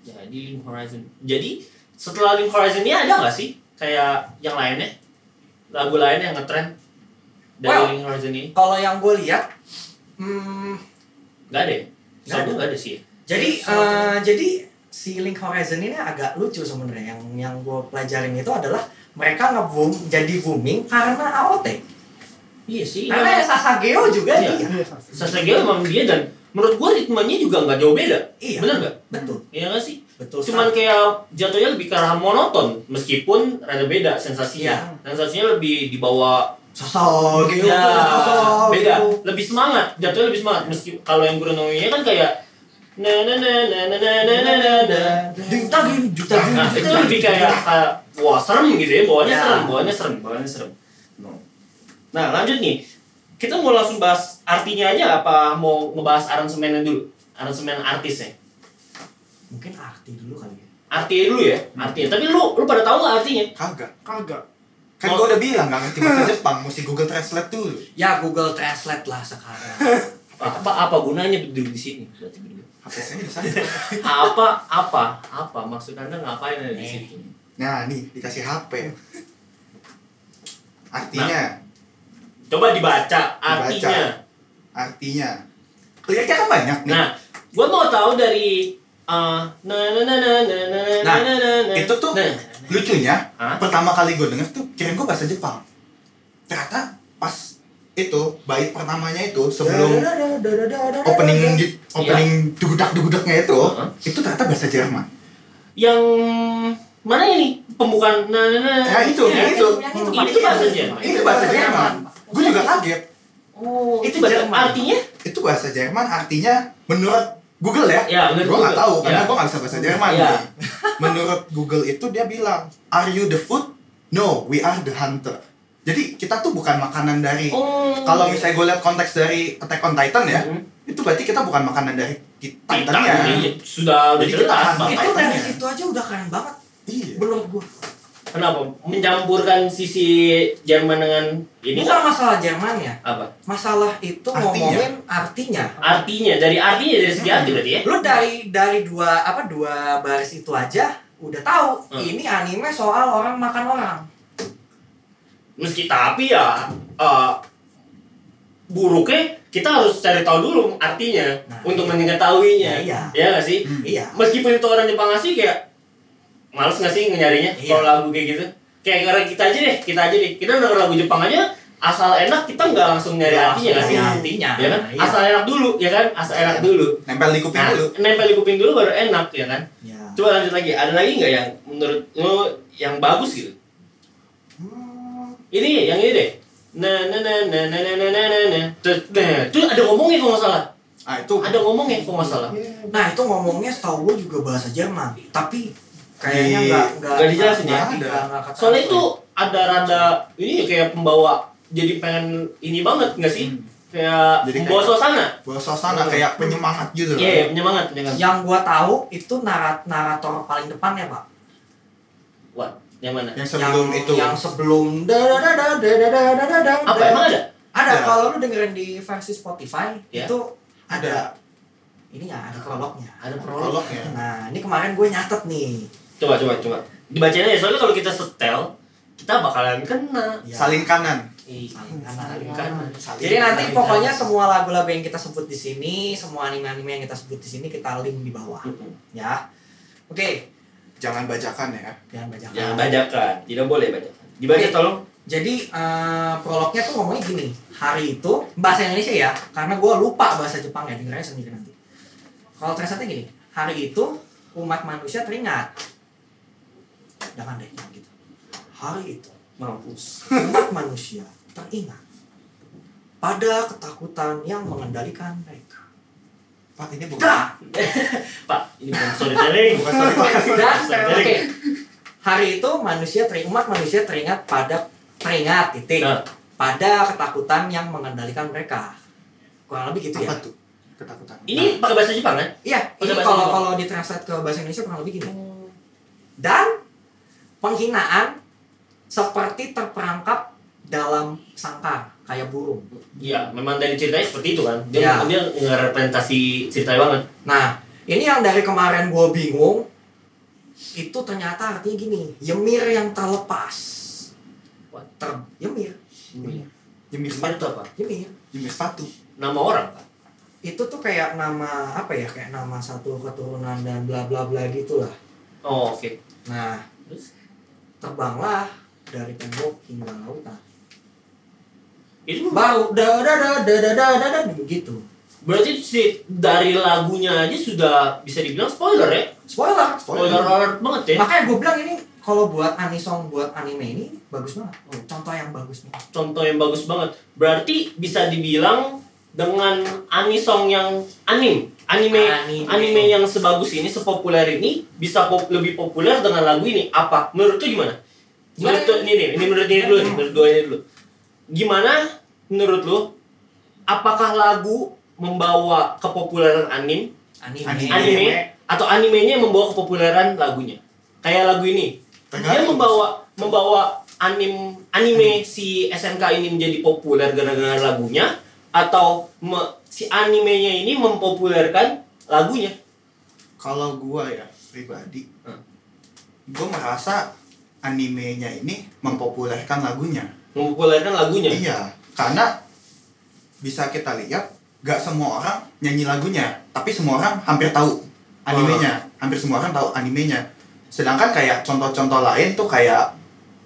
[SPEAKER 2] jadi Link Horizon jadi setelah Link Horizon ini ada nggak sih kayak yang lainnya lagu lain yang ngetren dari
[SPEAKER 4] Well.
[SPEAKER 2] Link Horizon ini
[SPEAKER 4] Kalau yang gue lihat, hmm,
[SPEAKER 2] nggak ada ya?
[SPEAKER 4] Nggak ada.
[SPEAKER 2] Soalnya nggak ada sih ya?
[SPEAKER 4] Jadi
[SPEAKER 2] Soalnya-
[SPEAKER 4] eh, jadi si Link Horizon ini agak lucu sebenarnya. Yang yang gue pelajarin itu adalah mereka nge-boom jadi booming karena AOT.
[SPEAKER 2] Iya sih.
[SPEAKER 4] Karena ya Sasageo juga
[SPEAKER 2] Iya.
[SPEAKER 4] dia.
[SPEAKER 2] Sasageo emang dia dan menurut gua ritmenya juga nggak jauh beda.
[SPEAKER 4] Iya.
[SPEAKER 2] Bener nggak?
[SPEAKER 4] Betul.
[SPEAKER 2] Iya nggak sih?
[SPEAKER 4] Betul.
[SPEAKER 2] Cuman kayak jatuhnya lebih ke arah monoton meskipun rada beda
[SPEAKER 4] Iya.
[SPEAKER 2] sensasinya. Sensasinya lebih di bawah
[SPEAKER 4] Sasageo
[SPEAKER 2] ya,
[SPEAKER 4] Sasageo.
[SPEAKER 2] beda, lebih semangat. Jatuhnya lebih semangat meski kalau yang Bruno nya kan kayak na na na na na na na na na, na.
[SPEAKER 4] Ding taging, ding taging,
[SPEAKER 2] Nah,
[SPEAKER 4] ding
[SPEAKER 2] itu
[SPEAKER 4] taging.
[SPEAKER 2] lebih kayak kayak, wah serem gitu ya, bawaannya
[SPEAKER 4] Ya.
[SPEAKER 2] serem, bawaannya serem, bawaannya serem. No. Nah, lanjut nih. Kita mau langsung bahas artinya aja apa mau ngebahas aransemennya dulu? Aransemen artisnya.
[SPEAKER 4] mungkin arti dulu kali ya.
[SPEAKER 2] Artinya dulu ya, artinya. Tapi lu lu pada tahu nggak artinya?
[SPEAKER 3] Kagak.
[SPEAKER 5] Kagak.
[SPEAKER 3] Kan gua udah bilang gak ngerti bahasa Jepang, mesti Google Translate dulu.
[SPEAKER 4] Ya Google Translate lah sekarang.
[SPEAKER 2] Apa apa gunanya berdiri di sini? Berarti berdiri.
[SPEAKER 3] Apa sih di sana?
[SPEAKER 2] Apa apa apa maksud Anda ngapain ada di situ?
[SPEAKER 3] Nah, nih dikasih HP. Artinya,
[SPEAKER 2] Coba dibaca artinya.
[SPEAKER 3] artinya. Liriknya kan banyak nih.
[SPEAKER 2] Nah, gua mau tahu dari eh, na na na na na na na
[SPEAKER 3] Nah,
[SPEAKER 2] na na na.
[SPEAKER 3] itu tuh
[SPEAKER 2] Nah.
[SPEAKER 3] lucunya
[SPEAKER 2] Hah?
[SPEAKER 3] pertama kali gue denger tuh kirain gue bahasa Jepang ternyata pas itu bait pertamanya itu sebelum opening gi- opening dugudak dugudaknya itu
[SPEAKER 2] Iya. Heeh.
[SPEAKER 3] itu ternyata bahasa Jerman
[SPEAKER 2] yang mana ini pembukaan nah, nah, nah.
[SPEAKER 3] ya itu
[SPEAKER 4] Yang
[SPEAKER 3] itu
[SPEAKER 4] yang itu,
[SPEAKER 2] kan? itu,
[SPEAKER 4] Pak.
[SPEAKER 2] itu bahasa Jerman
[SPEAKER 3] itu bahasa
[SPEAKER 2] iya.
[SPEAKER 3] Jerman gue juga kaget
[SPEAKER 2] oh
[SPEAKER 4] Itu
[SPEAKER 2] itu bahasa,
[SPEAKER 4] Jerman.
[SPEAKER 2] artinya
[SPEAKER 3] itu bahasa Jerman artinya menurut Google ya
[SPEAKER 2] ya benar
[SPEAKER 3] gue nggak tahu karena
[SPEAKER 2] ya.
[SPEAKER 3] gue nggak bisa bahasa Jerman
[SPEAKER 2] Iya.
[SPEAKER 3] nih. menurut Google itu dia bilang are you the food no we are the hunter jadi kita tuh bukan makanan dari
[SPEAKER 2] oh
[SPEAKER 3] kalau misalnya gue lihat konteks dari Attack on Titan ya
[SPEAKER 2] Hmm.
[SPEAKER 3] itu berarti kita bukan makanan dari ti-
[SPEAKER 2] Titan iya.
[SPEAKER 3] Titannya
[SPEAKER 2] ini sudah udah
[SPEAKER 3] Jadi kita
[SPEAKER 2] jelas
[SPEAKER 3] akan-
[SPEAKER 2] Bang.
[SPEAKER 4] Itu dari
[SPEAKER 3] Makanya.
[SPEAKER 4] situ aja udah keren banget
[SPEAKER 3] iya
[SPEAKER 4] menurut gua.
[SPEAKER 2] kenapa mencampurkan sisi Jerman dengan ini
[SPEAKER 4] Bukan masalah Jerman ya,
[SPEAKER 2] apa
[SPEAKER 4] masalah itu
[SPEAKER 3] Artinya.
[SPEAKER 4] ngomongin artinya Hmm.
[SPEAKER 2] artinya dari artinya dari segi arti berarti ya
[SPEAKER 4] lu dari dari dua apa dua baris itu aja udah tahu
[SPEAKER 2] Hmm.
[SPEAKER 4] ini anime soal orang makan orang.
[SPEAKER 2] meski tapi ya eh, buruknya kita harus cari tahu dulu artinya
[SPEAKER 4] Nah.
[SPEAKER 2] untuk mengetahuinya
[SPEAKER 4] Iya.
[SPEAKER 2] ya nggak sih
[SPEAKER 4] Iya.
[SPEAKER 2] meskipun itu orang Jepang asli kayak males nggak sih nyarinya
[SPEAKER 4] Iya.
[SPEAKER 2] kalau lagu kayak gitu kayak karena kita aja deh kita aja deh kita denger lagu Jepang aja asal enak kita nggak langsung nyari
[SPEAKER 4] Nggak
[SPEAKER 2] artinya nggak
[SPEAKER 4] langsung
[SPEAKER 2] sih
[SPEAKER 4] nyari artinya.
[SPEAKER 2] ya kan
[SPEAKER 4] Iya.
[SPEAKER 2] asal enak dulu ya kan asal enak dulu
[SPEAKER 3] nempel di kuping
[SPEAKER 2] nah
[SPEAKER 3] dulu
[SPEAKER 2] nempel di kuping dulu baru enak ya kan
[SPEAKER 4] Ya.
[SPEAKER 2] coba lanjut lagi ada lagi nggak yang menurut lo yang bagus gitu ini yang ini deh na na na na na na na na na na Terus, nah, itu ada ngomongnya kalau nggak salah
[SPEAKER 3] ah itu
[SPEAKER 2] ada ngomongnya kalau nggak salah
[SPEAKER 4] Nah itu ngomongnya setahu gue juga bahasa Jerman, tapi kayaknya
[SPEAKER 3] Di-
[SPEAKER 4] nggak nggak
[SPEAKER 2] nggak dijelasin ya?
[SPEAKER 4] nggak- nggak- nggak kata-
[SPEAKER 2] soalnya itu ada rada ini kayak pembawa jadi pengen ini banget nggak sih kayak
[SPEAKER 3] Hmm. Jadi
[SPEAKER 2] membawa
[SPEAKER 3] kayak-
[SPEAKER 2] suasana
[SPEAKER 3] bahwa suasana kayak penyemangat gitu
[SPEAKER 2] iya iya, penyemangat penyemangat
[SPEAKER 4] yang gue tahu itu narat narator paling depannya pak.
[SPEAKER 2] what yang mana
[SPEAKER 3] yang sebelum
[SPEAKER 4] yang,
[SPEAKER 3] itu
[SPEAKER 4] yang sebelum da da da da da da da da da da
[SPEAKER 2] apa
[SPEAKER 4] da.
[SPEAKER 2] emang ada
[SPEAKER 4] ada
[SPEAKER 3] Ada.
[SPEAKER 4] kalau lu dengerin di versi Spotify
[SPEAKER 2] Ya.
[SPEAKER 4] itu ada ininya ada prolognya
[SPEAKER 2] ada prolog
[SPEAKER 3] prolognya
[SPEAKER 4] nah ini kemarin gue nyatet nih
[SPEAKER 2] coba coba coba dibacain aja soalnya kalau kita setel kita bakalan kena
[SPEAKER 4] Ya.
[SPEAKER 3] salin kanan
[SPEAKER 2] Ih, saling
[SPEAKER 4] Saling kanan.
[SPEAKER 2] kanan. Iya, kan Saling
[SPEAKER 4] jadi nanti
[SPEAKER 2] kanan.
[SPEAKER 4] pokoknya semua lagu-lagu yang kita sebut di sini semua anime-anime yang kita sebut di sini kita link di bawah ya oke
[SPEAKER 3] jangan bajakan ya
[SPEAKER 4] jangan baca
[SPEAKER 2] jangan bajakan tidak boleh bajakan dibaca
[SPEAKER 4] Oke.
[SPEAKER 2] tolong
[SPEAKER 4] Jadi eh, prolognya tuh ngomongnya gini, hari itu bahasa Indonesia ya, karena gue lupa bahasa Jepang ya, dengarnya sendiri nanti. Kalau translate gini, hari itu umat manusia teringat. Jangan deh, jangan gitu. Hari itu
[SPEAKER 2] mampus
[SPEAKER 4] umat manusia teringat pada ketakutan yang mengendalikan mereka.
[SPEAKER 3] pak ini bukan
[SPEAKER 4] Dah!
[SPEAKER 2] pak ini bukan storytelling
[SPEAKER 3] bukan sorry pak
[SPEAKER 4] Dan
[SPEAKER 2] Storytelling.
[SPEAKER 4] oke. hari itu manusia teringat, umat manusia teringat pada teringat titik
[SPEAKER 2] Nah.
[SPEAKER 4] pada ketakutan yang mengendalikan mereka. Kurang lebih gitu ya.
[SPEAKER 3] apa tuh ketakutan Nah,
[SPEAKER 2] ini pakai bahasa Jepang kan
[SPEAKER 4] Iya, ini
[SPEAKER 2] Udah bahasa
[SPEAKER 4] kalau
[SPEAKER 2] Jepang.
[SPEAKER 4] kalau ditranslate ke bahasa Indonesia kurang lebih gini. Dan penghinaan seperti terperangkap dalam sangkar kayak burung.
[SPEAKER 2] Iya, memang dari ceritanya seperti itu kan. Dia
[SPEAKER 4] Iya.
[SPEAKER 2] dia ngerepresentasi ceritanya banget.
[SPEAKER 4] Nah, ini yang dari kemarin gue bingung itu ternyata artinya gini, yemir yang terlepas.
[SPEAKER 2] What?
[SPEAKER 4] Ter yemir,
[SPEAKER 2] Iya.
[SPEAKER 3] jemir
[SPEAKER 2] Jepang itu apa?
[SPEAKER 4] yemir.
[SPEAKER 3] jemir sepatu
[SPEAKER 2] Nama orang Pak.
[SPEAKER 4] Itu tuh kayak nama apa ya? Kayak nama satu keturunan dan bla bla bla gitulah.
[SPEAKER 2] Oh, oke.
[SPEAKER 4] Nah,
[SPEAKER 2] Terus
[SPEAKER 4] terbanglah dari tembok hingga lautan.
[SPEAKER 2] itu
[SPEAKER 4] Baru da da da da da da da gitu. da begitu.
[SPEAKER 2] berarti si dari lagunya aja sudah bisa dibilang spoiler ya.
[SPEAKER 4] Spoiler.
[SPEAKER 2] Spoiler alert banget ya.
[SPEAKER 4] Makanya gue bilang ini kalau buat anisong buat anime ini bagus banget. Oh, Contoh yang bagus nih.
[SPEAKER 2] Contoh yang bagus banget. Berarti bisa dibilang dengan anisong yang anim, anime,
[SPEAKER 4] Ah, Anime.
[SPEAKER 2] anime, yang sebagus ini, sepopuler ini bisa pop- lebih populer dengan lagu ini. Apa? Menurut lu gimana?
[SPEAKER 4] Gimana?
[SPEAKER 2] Menurut lu- ini nih, ini menurut ini dulu, nih, menurut gua ini dulu. Gimana menurut lu? Apakah lagu membawa kepopuleran anim,
[SPEAKER 4] Anime.
[SPEAKER 3] Anime.
[SPEAKER 2] anime, atau animenya yang membawa kepopuleran lagunya? Kayak lagu ini, dia
[SPEAKER 3] Tergantung.
[SPEAKER 2] membawa membawa anim anime si SNK ini menjadi populer gara-gara lagunya atau me- si animenya ini mempopulerkan lagunya
[SPEAKER 3] kalau gua ya pribadi
[SPEAKER 2] Hmm.
[SPEAKER 3] gua merasa animenya ini mempopulerkan lagunya
[SPEAKER 2] mempopulerkan lagunya
[SPEAKER 3] iya karena bisa kita lihat gak semua orang nyanyi lagunya tapi semua orang hampir tahu animenya hampir semua orang tahu animenya sedangkan kayak contoh-contoh lain tuh kayak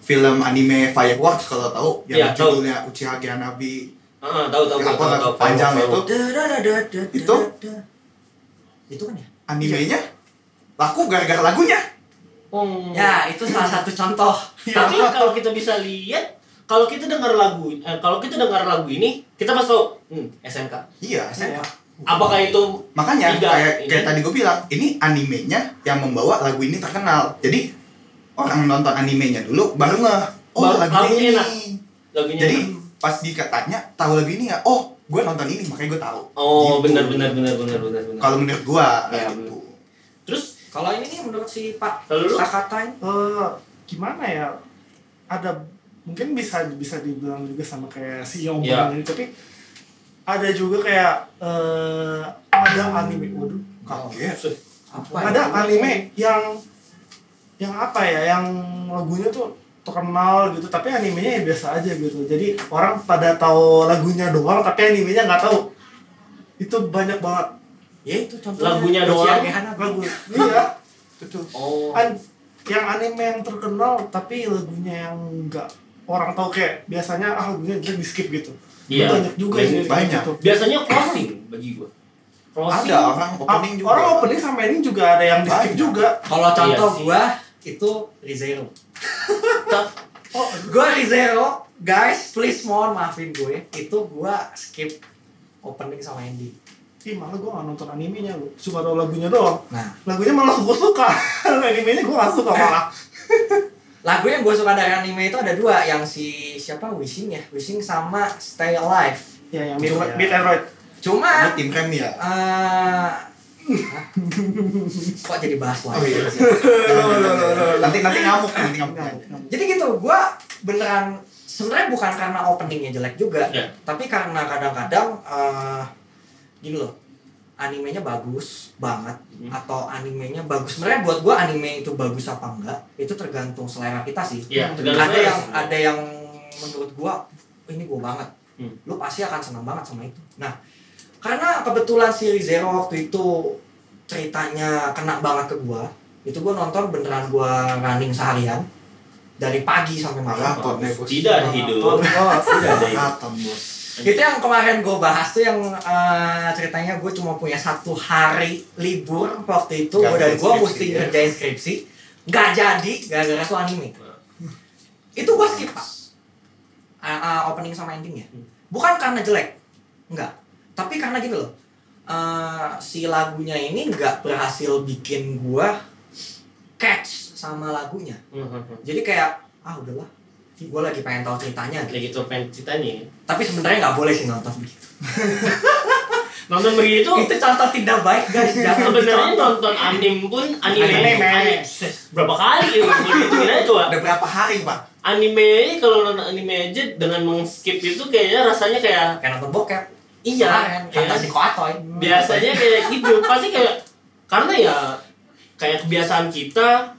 [SPEAKER 3] film anime fireworks kalau tahu
[SPEAKER 2] Iya,
[SPEAKER 3] yang
[SPEAKER 2] tahu.
[SPEAKER 3] judulnya Uchiha Nabi
[SPEAKER 2] Heeh, Ah, tahu tahu tahu
[SPEAKER 3] apa
[SPEAKER 2] tahu,
[SPEAKER 3] lagu
[SPEAKER 2] tahu,
[SPEAKER 3] panjang
[SPEAKER 2] tahu,
[SPEAKER 3] itu
[SPEAKER 2] tahu.
[SPEAKER 4] Da da da da da. da,
[SPEAKER 3] Itu?
[SPEAKER 4] da. Itu kan ya?
[SPEAKER 2] Iya.
[SPEAKER 3] animenya laku gara-gara lagunya
[SPEAKER 2] Hmm.
[SPEAKER 4] Ya, itu salah satu contoh.
[SPEAKER 2] tapi kalau kita bisa lihat kalau kita dengar lagu eh, kalau kita dengar lagu ini kita pasti tahu hmm, SNK
[SPEAKER 3] iya
[SPEAKER 4] Saya
[SPEAKER 2] apakah itu
[SPEAKER 3] Makanya
[SPEAKER 2] Tidak,
[SPEAKER 3] kayak
[SPEAKER 2] ini.
[SPEAKER 3] kayak tadi gue bilang, ini animenya yang membawa lagu ini terkenal. Jadi orang nonton animenya dulu baru nge oh
[SPEAKER 2] Baru-
[SPEAKER 3] lagu
[SPEAKER 2] lagunya
[SPEAKER 3] ini.
[SPEAKER 2] enak. lagunya
[SPEAKER 3] Jadi pas dikatanya tahu lagu ini ya, oh gue nonton ini makanya gue tahu.
[SPEAKER 2] oh
[SPEAKER 3] Gitu.
[SPEAKER 2] benar benar benar benar benar benar
[SPEAKER 3] Kalau menurut gue
[SPEAKER 2] Ya,
[SPEAKER 3] gitu.
[SPEAKER 2] terus
[SPEAKER 4] Kalau ini nih menurut si Pak
[SPEAKER 2] Kalau lu?
[SPEAKER 4] Takatain
[SPEAKER 5] Eh, gimana ya ada mungkin bisa bisa dibilang juga sama kayak si Yong
[SPEAKER 2] Iya.
[SPEAKER 5] ini tapi ada juga kayak eh,
[SPEAKER 4] Iya.
[SPEAKER 5] ada anime waduh
[SPEAKER 3] Kaget.
[SPEAKER 5] ada anime yang yang apa ya yang lagunya tuh terkenal gitu tapi animenya ya biasa aja gitu jadi orang pada tahu lagunya doang tapi animenya nggak tahu itu banyak banget
[SPEAKER 4] ya itu contohnya
[SPEAKER 2] Lagunya doang.
[SPEAKER 5] lagu iya betul
[SPEAKER 2] Oh.
[SPEAKER 5] An- yang anime yang terkenal tapi lagunya yang nggak orang tahu kayak biasanya ah lagunya jelek di skip gitu
[SPEAKER 2] Iya.
[SPEAKER 5] banyak juga
[SPEAKER 2] Banyak,
[SPEAKER 5] yang kayak
[SPEAKER 3] banyak.
[SPEAKER 5] gitu.
[SPEAKER 2] Biasanya crossing bagi gua. Crossing.
[SPEAKER 3] Ada orang
[SPEAKER 5] Ah,
[SPEAKER 3] opening juga.
[SPEAKER 5] orang opening sama ini juga ada yang di skip
[SPEAKER 3] Banyak.
[SPEAKER 5] juga
[SPEAKER 4] kalau
[SPEAKER 2] Iya
[SPEAKER 4] contoh
[SPEAKER 2] sih.
[SPEAKER 4] gua itu Rizero
[SPEAKER 2] Ta-
[SPEAKER 4] oh gua Rizero guys please mohon maafin gue itu gua skip opening sama ending
[SPEAKER 5] Ih malah gue gak nonton animenya lu Cuma tau lagunya doang
[SPEAKER 4] nah
[SPEAKER 5] Lagunya malah gue suka Animenya gue gak suka malah
[SPEAKER 4] lagu yang gue suka dari anime itu ada dua yang si siapa Wishing ya Wishing sama Stay Alive
[SPEAKER 3] Iya,
[SPEAKER 5] Ya yang
[SPEAKER 4] Beat-
[SPEAKER 5] Beat and Roid
[SPEAKER 3] Ini
[SPEAKER 4] cuman
[SPEAKER 3] tim rem ya.
[SPEAKER 4] eh kok jadi bahas
[SPEAKER 3] Oh
[SPEAKER 4] lagi
[SPEAKER 3] iya. Nanti nanti ngamuk, nanti ngamuk.
[SPEAKER 4] jadi gitu gue beneran sebenarnya bukan karena openingnya jelek juga
[SPEAKER 2] Iya.
[SPEAKER 4] tapi karena kadang-kadang eh gini loh animenya bagus banget
[SPEAKER 2] Hmm.
[SPEAKER 4] atau animenya bagus sebenarnya buat gue anime itu bagus apa enggak itu tergantung selera kita sih
[SPEAKER 2] Iya, tergantung
[SPEAKER 4] ada
[SPEAKER 2] selera
[SPEAKER 4] yang
[SPEAKER 2] sih.
[SPEAKER 4] ada yang menurut gue ini gue banget
[SPEAKER 2] Hmm.
[SPEAKER 4] lu pasti akan senang banget sama itu nah karena kebetulan seri Zero waktu itu ceritanya kena banget ke gue itu gue nonton beneran gue running seharian dari pagi sampai malam
[SPEAKER 3] Maraton ya bos.
[SPEAKER 2] Tidak ada
[SPEAKER 4] Oh.
[SPEAKER 2] hidup. Tidak ada hidup.
[SPEAKER 3] Maraton bos.
[SPEAKER 4] itu yang kemarin gue bahas tuh yang eh, ceritanya gue cuma punya satu hari libur waktu itu
[SPEAKER 3] Gak
[SPEAKER 4] gua
[SPEAKER 3] ada
[SPEAKER 4] dan gue
[SPEAKER 3] skripsi,
[SPEAKER 4] mesti
[SPEAKER 3] ya.
[SPEAKER 4] ngerjain skripsi nggak jadi gara-gara tuh anime itu gue skip pak Eh, eh, opening sama endingnya bukan karena jelek enggak tapi karena gini loh eh, si lagunya ini nggak berhasil bikin gue catch sama lagunya jadi kayak ah udahlah gue lagi pengen tahu ceritanya gitu.
[SPEAKER 2] Kayak gitu pengen ceritanya. ya.
[SPEAKER 4] tapi sebenarnya nggak boleh sih nonton begitu
[SPEAKER 2] Nonton begitu
[SPEAKER 4] itu contoh tidak baik guys jangan
[SPEAKER 2] sebenarnya
[SPEAKER 4] dicontoh
[SPEAKER 2] nonton anime pun anime
[SPEAKER 5] Anime.
[SPEAKER 2] anime. berapa kali ya itu coba
[SPEAKER 3] Ada berapa hari pak?
[SPEAKER 2] gitu. anime ini kalau nonton anime aja dengan mengskip itu kayaknya rasanya kayak
[SPEAKER 4] kayak nonton bokep
[SPEAKER 2] Iya.
[SPEAKER 4] Kemarin, kata
[SPEAKER 2] Iya.
[SPEAKER 4] si koatoy
[SPEAKER 2] biasanya kayak gitu pasti kayak karena ya kayak kebiasaan kita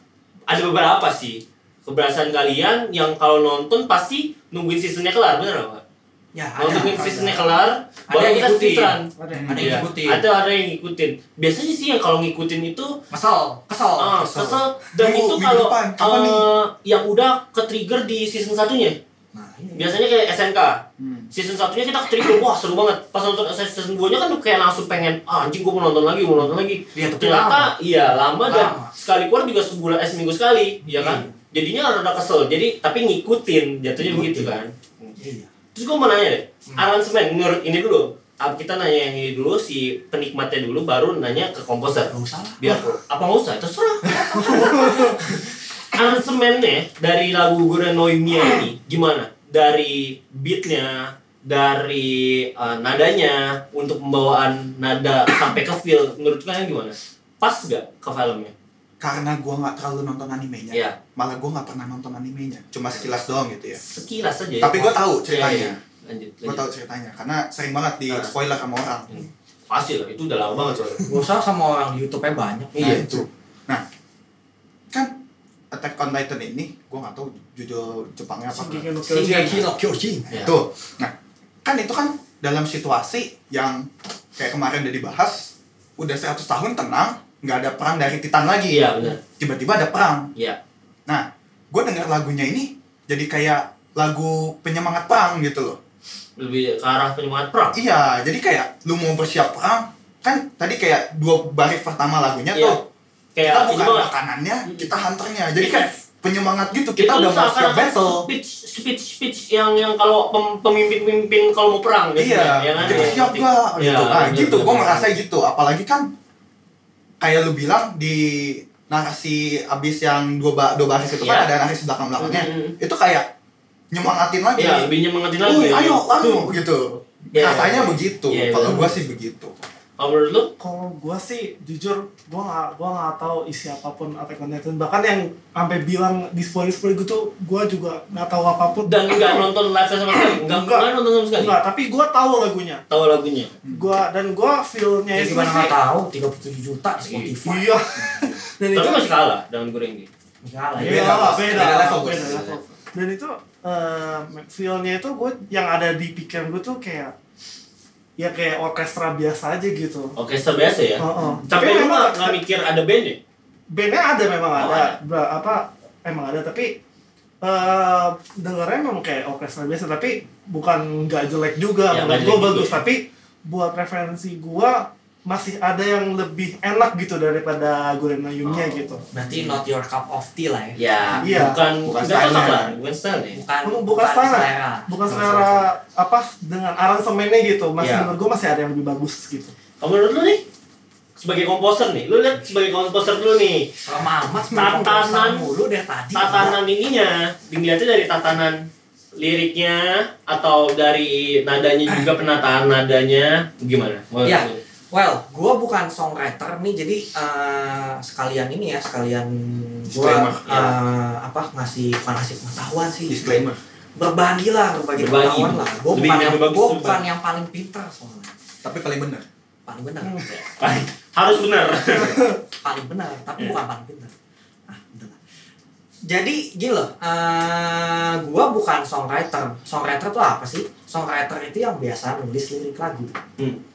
[SPEAKER 2] ada beberapa sih kebiasaan kalian yang kalau nonton pasti nungguin seasonnya kelar bener nggak Pak?
[SPEAKER 4] ya ada
[SPEAKER 2] nungguin
[SPEAKER 4] ada.
[SPEAKER 2] seasonnya kelar
[SPEAKER 4] Ada
[SPEAKER 2] baru
[SPEAKER 4] yang
[SPEAKER 2] kita
[SPEAKER 4] ngikutin.
[SPEAKER 2] titran
[SPEAKER 4] ada yang
[SPEAKER 2] Iya.
[SPEAKER 4] ngikutin
[SPEAKER 2] ada ada yang ngikutin biasanya sih yang kalau ngikutin itu
[SPEAKER 4] kesel kesel
[SPEAKER 2] ah, kesel dan
[SPEAKER 3] Minggu-
[SPEAKER 2] itu
[SPEAKER 3] minggu
[SPEAKER 2] kalau
[SPEAKER 3] depan, kapan nih?
[SPEAKER 2] eh, yang udah ke trigger di season satunya
[SPEAKER 4] nah ini
[SPEAKER 2] biasanya kayak SNK
[SPEAKER 3] Hmm.
[SPEAKER 2] season satunya kita ke trigger wah seru banget pas nonton season 2 nya kan tuh kayak langsung pengen ah, anjing gue mau nonton lagi mau nonton lagi
[SPEAKER 4] Iya, tapi
[SPEAKER 2] ternyata iya lama, dan
[SPEAKER 4] Lama.
[SPEAKER 2] sekali keluar juga sebulan eh seminggu sekali ya kan jadinya rada kesel jadi tapi ngikutin jatuhnya begitu kan
[SPEAKER 4] iya
[SPEAKER 2] terus gue mau nanya deh
[SPEAKER 3] Hmm.
[SPEAKER 2] aransemen menurut ini dulu Ah, kita nanya yang ini dulu si penikmatnya dulu baru nanya ke komposer
[SPEAKER 4] nggak usah lah
[SPEAKER 2] biar apa nggak usah terserah aransemennya dari lagu Gorenoimia ini gimana dari beatnya dari eh, nadanya untuk pembawaan nada sampai ke feel menurut kalian gimana pas gak ke filmnya
[SPEAKER 3] Karena gua nggak terlalu nonton animenya.
[SPEAKER 2] Iya.
[SPEAKER 3] Malah gua nggak pernah nonton animenya. Cuma sekilas doang gitu ya.
[SPEAKER 2] sekilas saja ya
[SPEAKER 3] Tapi gua
[SPEAKER 2] Iya, iya, iya.
[SPEAKER 3] tahu ceritanya.
[SPEAKER 2] lanjut
[SPEAKER 3] Gua tahu
[SPEAKER 2] lanjut
[SPEAKER 3] ceritanya karena sering banget di
[SPEAKER 2] Ah.
[SPEAKER 3] spoiler sama orang.
[SPEAKER 2] Hmm. pasti lah itu udah lama banget
[SPEAKER 3] Iya,
[SPEAKER 2] soalnya
[SPEAKER 4] nggak usah sama orang di YouTube nya banyak
[SPEAKER 3] Nah,
[SPEAKER 2] iya
[SPEAKER 3] itu. Nah, kan Attack on Titan ini gua nggak tahu judul Jepangnya apa.
[SPEAKER 5] Shingeki no Kyojin.
[SPEAKER 4] Shingeki no Kyojin
[SPEAKER 2] Ya.
[SPEAKER 3] Tuh. Nah, kan itu kan dalam situasi yang kayak kemarin udah dibahas, udah 100 tahun tenang, nggak ada perang dari Titan lagi.
[SPEAKER 2] iya benar
[SPEAKER 3] Tiba-tiba ada perang.
[SPEAKER 2] iya
[SPEAKER 3] Nah, gue denger lagunya ini jadi kayak lagu penyemangat perang gitu loh.
[SPEAKER 2] lebih ke arah penyemangat perang
[SPEAKER 3] Iya, jadi kayak lu mau bersiap perang, kan tadi kayak dua baris pertama lagunya
[SPEAKER 2] Iya.
[SPEAKER 3] tuh.
[SPEAKER 2] kayak
[SPEAKER 3] kita bukan
[SPEAKER 2] penyemangat.
[SPEAKER 3] makanannya,
[SPEAKER 2] Mm.
[SPEAKER 3] kita hunternya. Jadi
[SPEAKER 2] Itu-
[SPEAKER 3] kayak penyemangat gitu, kita
[SPEAKER 2] Itu
[SPEAKER 3] udah mau siap
[SPEAKER 2] Iya. seakan-akan
[SPEAKER 3] battle.
[SPEAKER 2] speech speech speech yang yang kalau pem- pemimpin-pemimpin kalau mau perang
[SPEAKER 3] Iya,
[SPEAKER 2] ya kan?
[SPEAKER 3] kita
[SPEAKER 2] Iya,
[SPEAKER 3] siap gua
[SPEAKER 2] iya,
[SPEAKER 3] gitu. Nah,
[SPEAKER 2] bener,
[SPEAKER 3] gitu,
[SPEAKER 2] bener,
[SPEAKER 3] gue
[SPEAKER 2] bener.
[SPEAKER 3] merasa gitu. Apalagi kan kayak lu bilang di narasi abis yang dua, ba dua baris itu
[SPEAKER 2] Iya.
[SPEAKER 3] kan ada narasi belakang-belakangnya.
[SPEAKER 2] Mm-mm.
[SPEAKER 3] Itu kayak nyemangatin lagi.
[SPEAKER 2] Iya, lebih nyemangatin lagi.
[SPEAKER 3] Woi, ayo,
[SPEAKER 2] Tuh.
[SPEAKER 3] ayo gitu.
[SPEAKER 2] Iya,
[SPEAKER 3] Katanya
[SPEAKER 2] iya.
[SPEAKER 3] begitu.
[SPEAKER 2] Iya, iya.
[SPEAKER 3] Kalau gua sih begitu.
[SPEAKER 2] Kalau menurut lu?
[SPEAKER 5] kalau gua sih jujur gua nggak gua nggak tahu isi apapun Attack on Titan bahkan yang sampai bilang di spoiler spoiler gitu gua juga nggak tahu apapun
[SPEAKER 2] Dan nggak nonton live sama sekali? Nggak
[SPEAKER 5] Nggak.
[SPEAKER 2] nggak nonton sama sekali?
[SPEAKER 5] Nggak, tapi gua tahu lagunya
[SPEAKER 2] Tahu lagunya?
[SPEAKER 5] gua dan gua feelnya
[SPEAKER 2] Iya.
[SPEAKER 4] ya
[SPEAKER 5] itu
[SPEAKER 4] gimana nggak
[SPEAKER 5] sih
[SPEAKER 4] tahu 37 juta di Spotify
[SPEAKER 5] iya dan
[SPEAKER 2] Tapi
[SPEAKER 5] itu
[SPEAKER 2] masih kalah dengan Goreng ini.
[SPEAKER 4] Enggak lah.
[SPEAKER 3] Iya.
[SPEAKER 4] ya.
[SPEAKER 3] Beda lah, beda
[SPEAKER 5] lah,
[SPEAKER 3] level,
[SPEAKER 5] beda
[SPEAKER 3] bos.
[SPEAKER 5] level. Dan itu eh feel-nya itu gue yang ada di pikiran gue tuh kayak ya kayak orkestra biasa aja gitu.
[SPEAKER 2] Oke, sebiasa ya.
[SPEAKER 5] Oh, oh.
[SPEAKER 2] Tapi lu nggak nggak mikir ada band ya?
[SPEAKER 5] bandnya ada memang
[SPEAKER 2] Oh,
[SPEAKER 5] ada,
[SPEAKER 2] ada.
[SPEAKER 5] Ba- apa emang ada tapi eh dengarnya memang kayak orkestra biasa tapi bukan nggak jelek juga
[SPEAKER 2] Ya,
[SPEAKER 5] menurut
[SPEAKER 2] nggak
[SPEAKER 5] gue
[SPEAKER 2] jelek
[SPEAKER 5] bagus
[SPEAKER 2] juga.
[SPEAKER 5] tapi buat referensi gue masih ada yang lebih enak gitu daripada Gurena
[SPEAKER 2] Oh.
[SPEAKER 5] Yumnya gitu
[SPEAKER 4] Berarti not your cup of tea lah ya.
[SPEAKER 2] Ya,
[SPEAKER 5] Iya.
[SPEAKER 2] bukan
[SPEAKER 3] Bukan
[SPEAKER 2] bukan
[SPEAKER 3] style-nya.
[SPEAKER 2] cocok lah, bukan style ya.
[SPEAKER 4] Bukan
[SPEAKER 5] Bu- bukan selera. bukan
[SPEAKER 3] Sama-sama.
[SPEAKER 5] selera apa dengan aransemennya gitu masih
[SPEAKER 2] Iya.
[SPEAKER 5] menurut gue masih ada yang lebih bagus gitu
[SPEAKER 2] Kamu menurut lu nih? Sebagai komposer nih, lu lihat sebagai komposer dulu nih,
[SPEAKER 4] Sama amat
[SPEAKER 2] Tatanan-
[SPEAKER 4] tatanan mulu dari tadi.
[SPEAKER 2] tatanan ininya, dilihatnya dari tatanan liriknya atau dari nadanya juga penataan nadanya gimana? Menurut
[SPEAKER 4] Iya.
[SPEAKER 2] lu?
[SPEAKER 4] Well, gue bukan songwriter nih, jadi eh, sekalian ini ya, sekalian gue
[SPEAKER 3] Disclaimer, ya.
[SPEAKER 4] apa ngasih bukan ngasih pengetahuan sih.
[SPEAKER 3] disclaimer
[SPEAKER 4] Berbagi lah, berbagi,
[SPEAKER 2] Berbagi.
[SPEAKER 4] pengetahuan lah. Gue
[SPEAKER 2] Lebih-
[SPEAKER 4] bukan yang
[SPEAKER 2] lebih bagus
[SPEAKER 4] gua
[SPEAKER 2] berbagi.
[SPEAKER 4] bukan yang paling pintar soalnya,
[SPEAKER 3] tapi paling benar
[SPEAKER 4] paling benar,
[SPEAKER 3] Hmm.
[SPEAKER 2] Harus benar.
[SPEAKER 4] paling benar, tapi
[SPEAKER 2] Ya.
[SPEAKER 4] bukan paling pintar. Ah, udah lah. Jadi gini loh, eh, gue bukan songwriter. Songwriter tuh apa sih? Songwriter itu yang biasa nulis lirik lagu.
[SPEAKER 2] Hmm.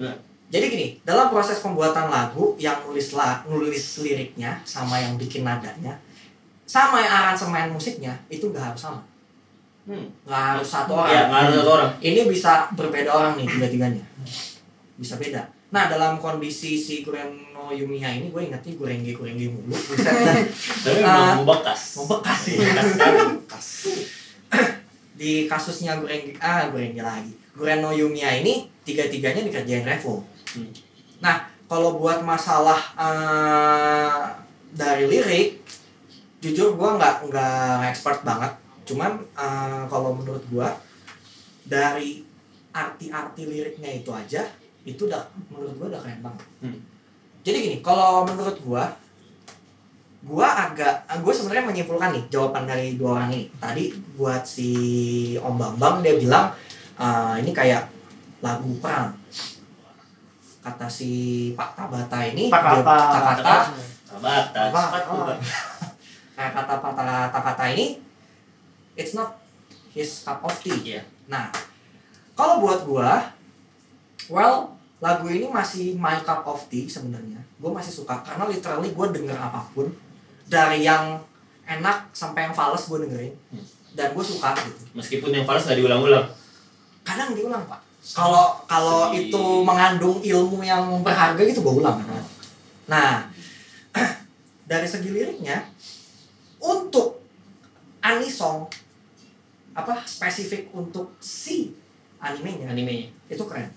[SPEAKER 2] Nah.
[SPEAKER 4] Jadi gini, dalam proses pembuatan lagu yang nulis la, nulis liriknya sama yang bikin nadanya, sama yang aransemen musiknya itu nggak harus sama,
[SPEAKER 2] Hmm.
[SPEAKER 4] nggak harus satu
[SPEAKER 2] Ya,
[SPEAKER 4] orang.
[SPEAKER 2] nggak harus satu orang.
[SPEAKER 4] Ini bisa berbeda orang nih tiga-tiganya, bisa beda. Nah dalam kondisi si Kureno Yumiya ini gue ingetnya Gurenge Gurenge mulu, bisa
[SPEAKER 2] Tapi
[SPEAKER 4] Ah.
[SPEAKER 2] belum membekas.
[SPEAKER 4] membekas sih.
[SPEAKER 2] kan?
[SPEAKER 4] Di kasusnya Gurenge ah Gurenge lagi, Kureno Yumiya ini tiga-tiganya dikerjain Revo.
[SPEAKER 2] Hmm.
[SPEAKER 4] Nah, kalau buat masalah eh, dari lirik, jujur gua nggak nggak expert banget. Cuman eh, kalau menurut gua dari arti-arti liriknya itu aja itu udah menurut gua udah keren banget.
[SPEAKER 2] Hmm.
[SPEAKER 4] Jadi gini, kalau menurut gua gua agak gue sebenarnya menyimpulkan nih jawaban dari dua orang ini tadi buat si Om Bambang dia bilang eh, ini kayak lagu perang kata si Pak Tabata ini
[SPEAKER 5] Pak Kata.
[SPEAKER 4] dia- Pak Kata
[SPEAKER 2] Batas.
[SPEAKER 4] Apa? Oh. kayak Nah, kata Pak Ta- Tabata ini it's not his cup of tea
[SPEAKER 2] Iya.
[SPEAKER 4] nah kalau buat gua well lagu ini masih my cup of tea sebenarnya gua masih suka karena literally gua denger apapun dari yang enak sampai yang fals gua dengerin
[SPEAKER 2] Hmm.
[SPEAKER 4] dan gue suka gitu
[SPEAKER 2] Meskipun yang fals nggak diulang-ulang.
[SPEAKER 4] kadang diulang pak kalau kalau
[SPEAKER 2] Sedih.
[SPEAKER 4] itu mengandung ilmu yang berharga gitu gue ulang nah dari segi liriknya untuk anisong apa spesifik untuk si animenya
[SPEAKER 2] Animenya.
[SPEAKER 4] itu keren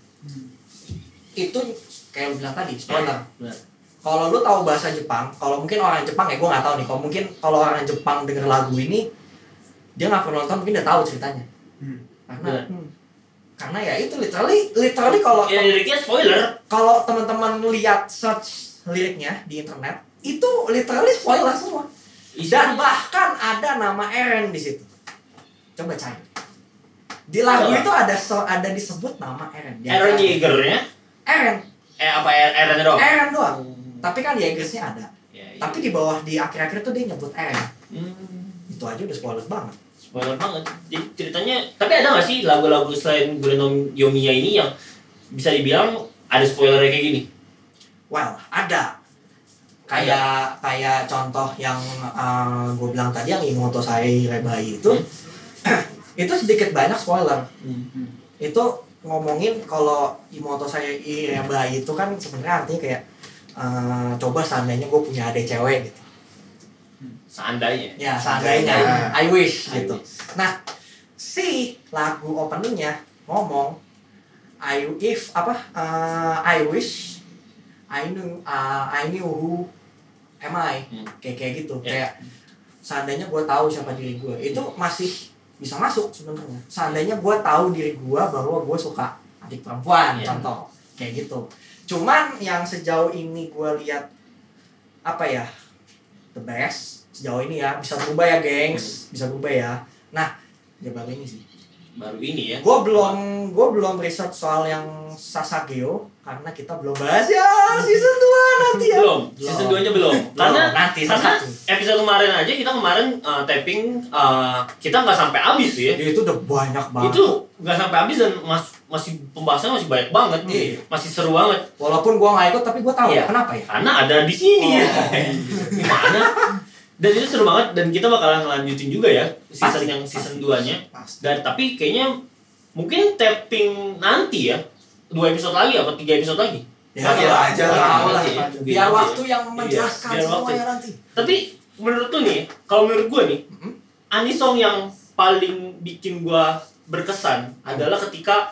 [SPEAKER 4] itu kayak lu bilang tadi spoiler
[SPEAKER 2] Benar.
[SPEAKER 4] kalau lu tahu bahasa Jepang kalau mungkin orang Jepang ya gue nggak tahu nih kalau mungkin kalau orang Jepang denger lagu ini dia nggak perlu nonton mungkin udah tahu ceritanya
[SPEAKER 3] Hmm.
[SPEAKER 4] karena
[SPEAKER 2] Benar.
[SPEAKER 4] karena ya itu literally literally kalau
[SPEAKER 2] Ya liriknya spoiler.
[SPEAKER 4] kalau teman-teman lihat search liriknya di internet itu literally spoiler semua
[SPEAKER 2] Iya.
[SPEAKER 4] dan bahkan ada nama Eren di situ coba cari di lagu
[SPEAKER 2] Coba.
[SPEAKER 4] itu ada so, ada disebut nama Eren Di
[SPEAKER 2] Aaron
[SPEAKER 4] antara-
[SPEAKER 2] Yeager-nya.
[SPEAKER 4] Eren
[SPEAKER 2] Eh apa Aaron doang?
[SPEAKER 4] Eren doang tapi kan Jagersnya ada
[SPEAKER 2] Ya, iya.
[SPEAKER 4] tapi di bawah di akhir-akhir tuh dia nyebut Eren
[SPEAKER 2] Hmm,
[SPEAKER 4] itu aja udah spoiler banget
[SPEAKER 2] spoiler banget. Jadi ceritanya, tapi ada nggak sih lagu-lagu selain Bruno Yomiya ini yang bisa dibilang ada spoiler kayak gini?
[SPEAKER 4] well ada kayak kayak contoh yang gue bilang tadi yang Imoto saya Rebai itu Hmm. itu sedikit banyak spoiler hmm. itu ngomongin kalau Imoto saya Rebai itu kan sebenarnya artinya kayak eh, coba seandainya gue punya adik cewek gitu
[SPEAKER 2] Seandainya.
[SPEAKER 4] ya seandainya I wish gitu
[SPEAKER 2] Ayo.
[SPEAKER 4] nah si lagu openingnya ngomong I if apa eh, I wish I knew eh, I knew who am I
[SPEAKER 2] Hmm.
[SPEAKER 4] kayak kayak gitu
[SPEAKER 2] Ya.
[SPEAKER 4] kayak seandainya gue tahu siapa diri gue itu masih bisa masuk sebenarnya seandainya gue tahu diri gue bahwa gue suka adik perempuan
[SPEAKER 2] Ya.
[SPEAKER 4] contoh kayak gitu cuman yang sejauh ini gue lihat apa ya the
[SPEAKER 2] Hmm.
[SPEAKER 4] best sejauh ini ya bisa berubah ya gengs bisa berubah ya nah ya baru ini sih
[SPEAKER 2] baru ini ya
[SPEAKER 4] Gue belum gue belum research soal yang Sasageo karena kita belum bahas ya season 2 nanti ya.
[SPEAKER 2] Iya. belum season 2 nya belum karena
[SPEAKER 4] Belum, nanti
[SPEAKER 2] karena
[SPEAKER 4] season
[SPEAKER 2] episode kemarin aja kita kemarin eh, tapping eh, kita nggak sampai habis sih ya.
[SPEAKER 4] 1. Ya, itu udah banyak banget.
[SPEAKER 2] itu nggak sampai habis dan mas- masih pembahasannya masih banyak banget
[SPEAKER 4] Iya.
[SPEAKER 2] masih seru banget
[SPEAKER 4] Walaupun gue nggak ikut tapi gue tahu
[SPEAKER 2] Iya.
[SPEAKER 4] kenapa ya.
[SPEAKER 2] karena ada di sini ya gimana dan itu seru banget dan kita bakalan ngelanjutin juga ya season
[SPEAKER 4] Pasti.
[SPEAKER 2] yang season 2 nya
[SPEAKER 3] Pasti.
[SPEAKER 2] dan tapi kayaknya mungkin tapping nanti ya dua episode lagi apa tiga episode lagi
[SPEAKER 4] Ya,
[SPEAKER 2] Nggak tahu
[SPEAKER 3] iya
[SPEAKER 2] lah.
[SPEAKER 3] aja
[SPEAKER 2] Nggak
[SPEAKER 4] lah,
[SPEAKER 2] tahu
[SPEAKER 4] iya.
[SPEAKER 2] sih ya.
[SPEAKER 4] Biar
[SPEAKER 2] Gitu.
[SPEAKER 4] waktu yang
[SPEAKER 2] Iya,
[SPEAKER 4] menjelaskan
[SPEAKER 2] biar waktu.
[SPEAKER 4] semuanya nanti.
[SPEAKER 2] tapi menurut tuh nih ya, kalau menurut gue nih anisong yang paling bikin gue berkesan adalah ketika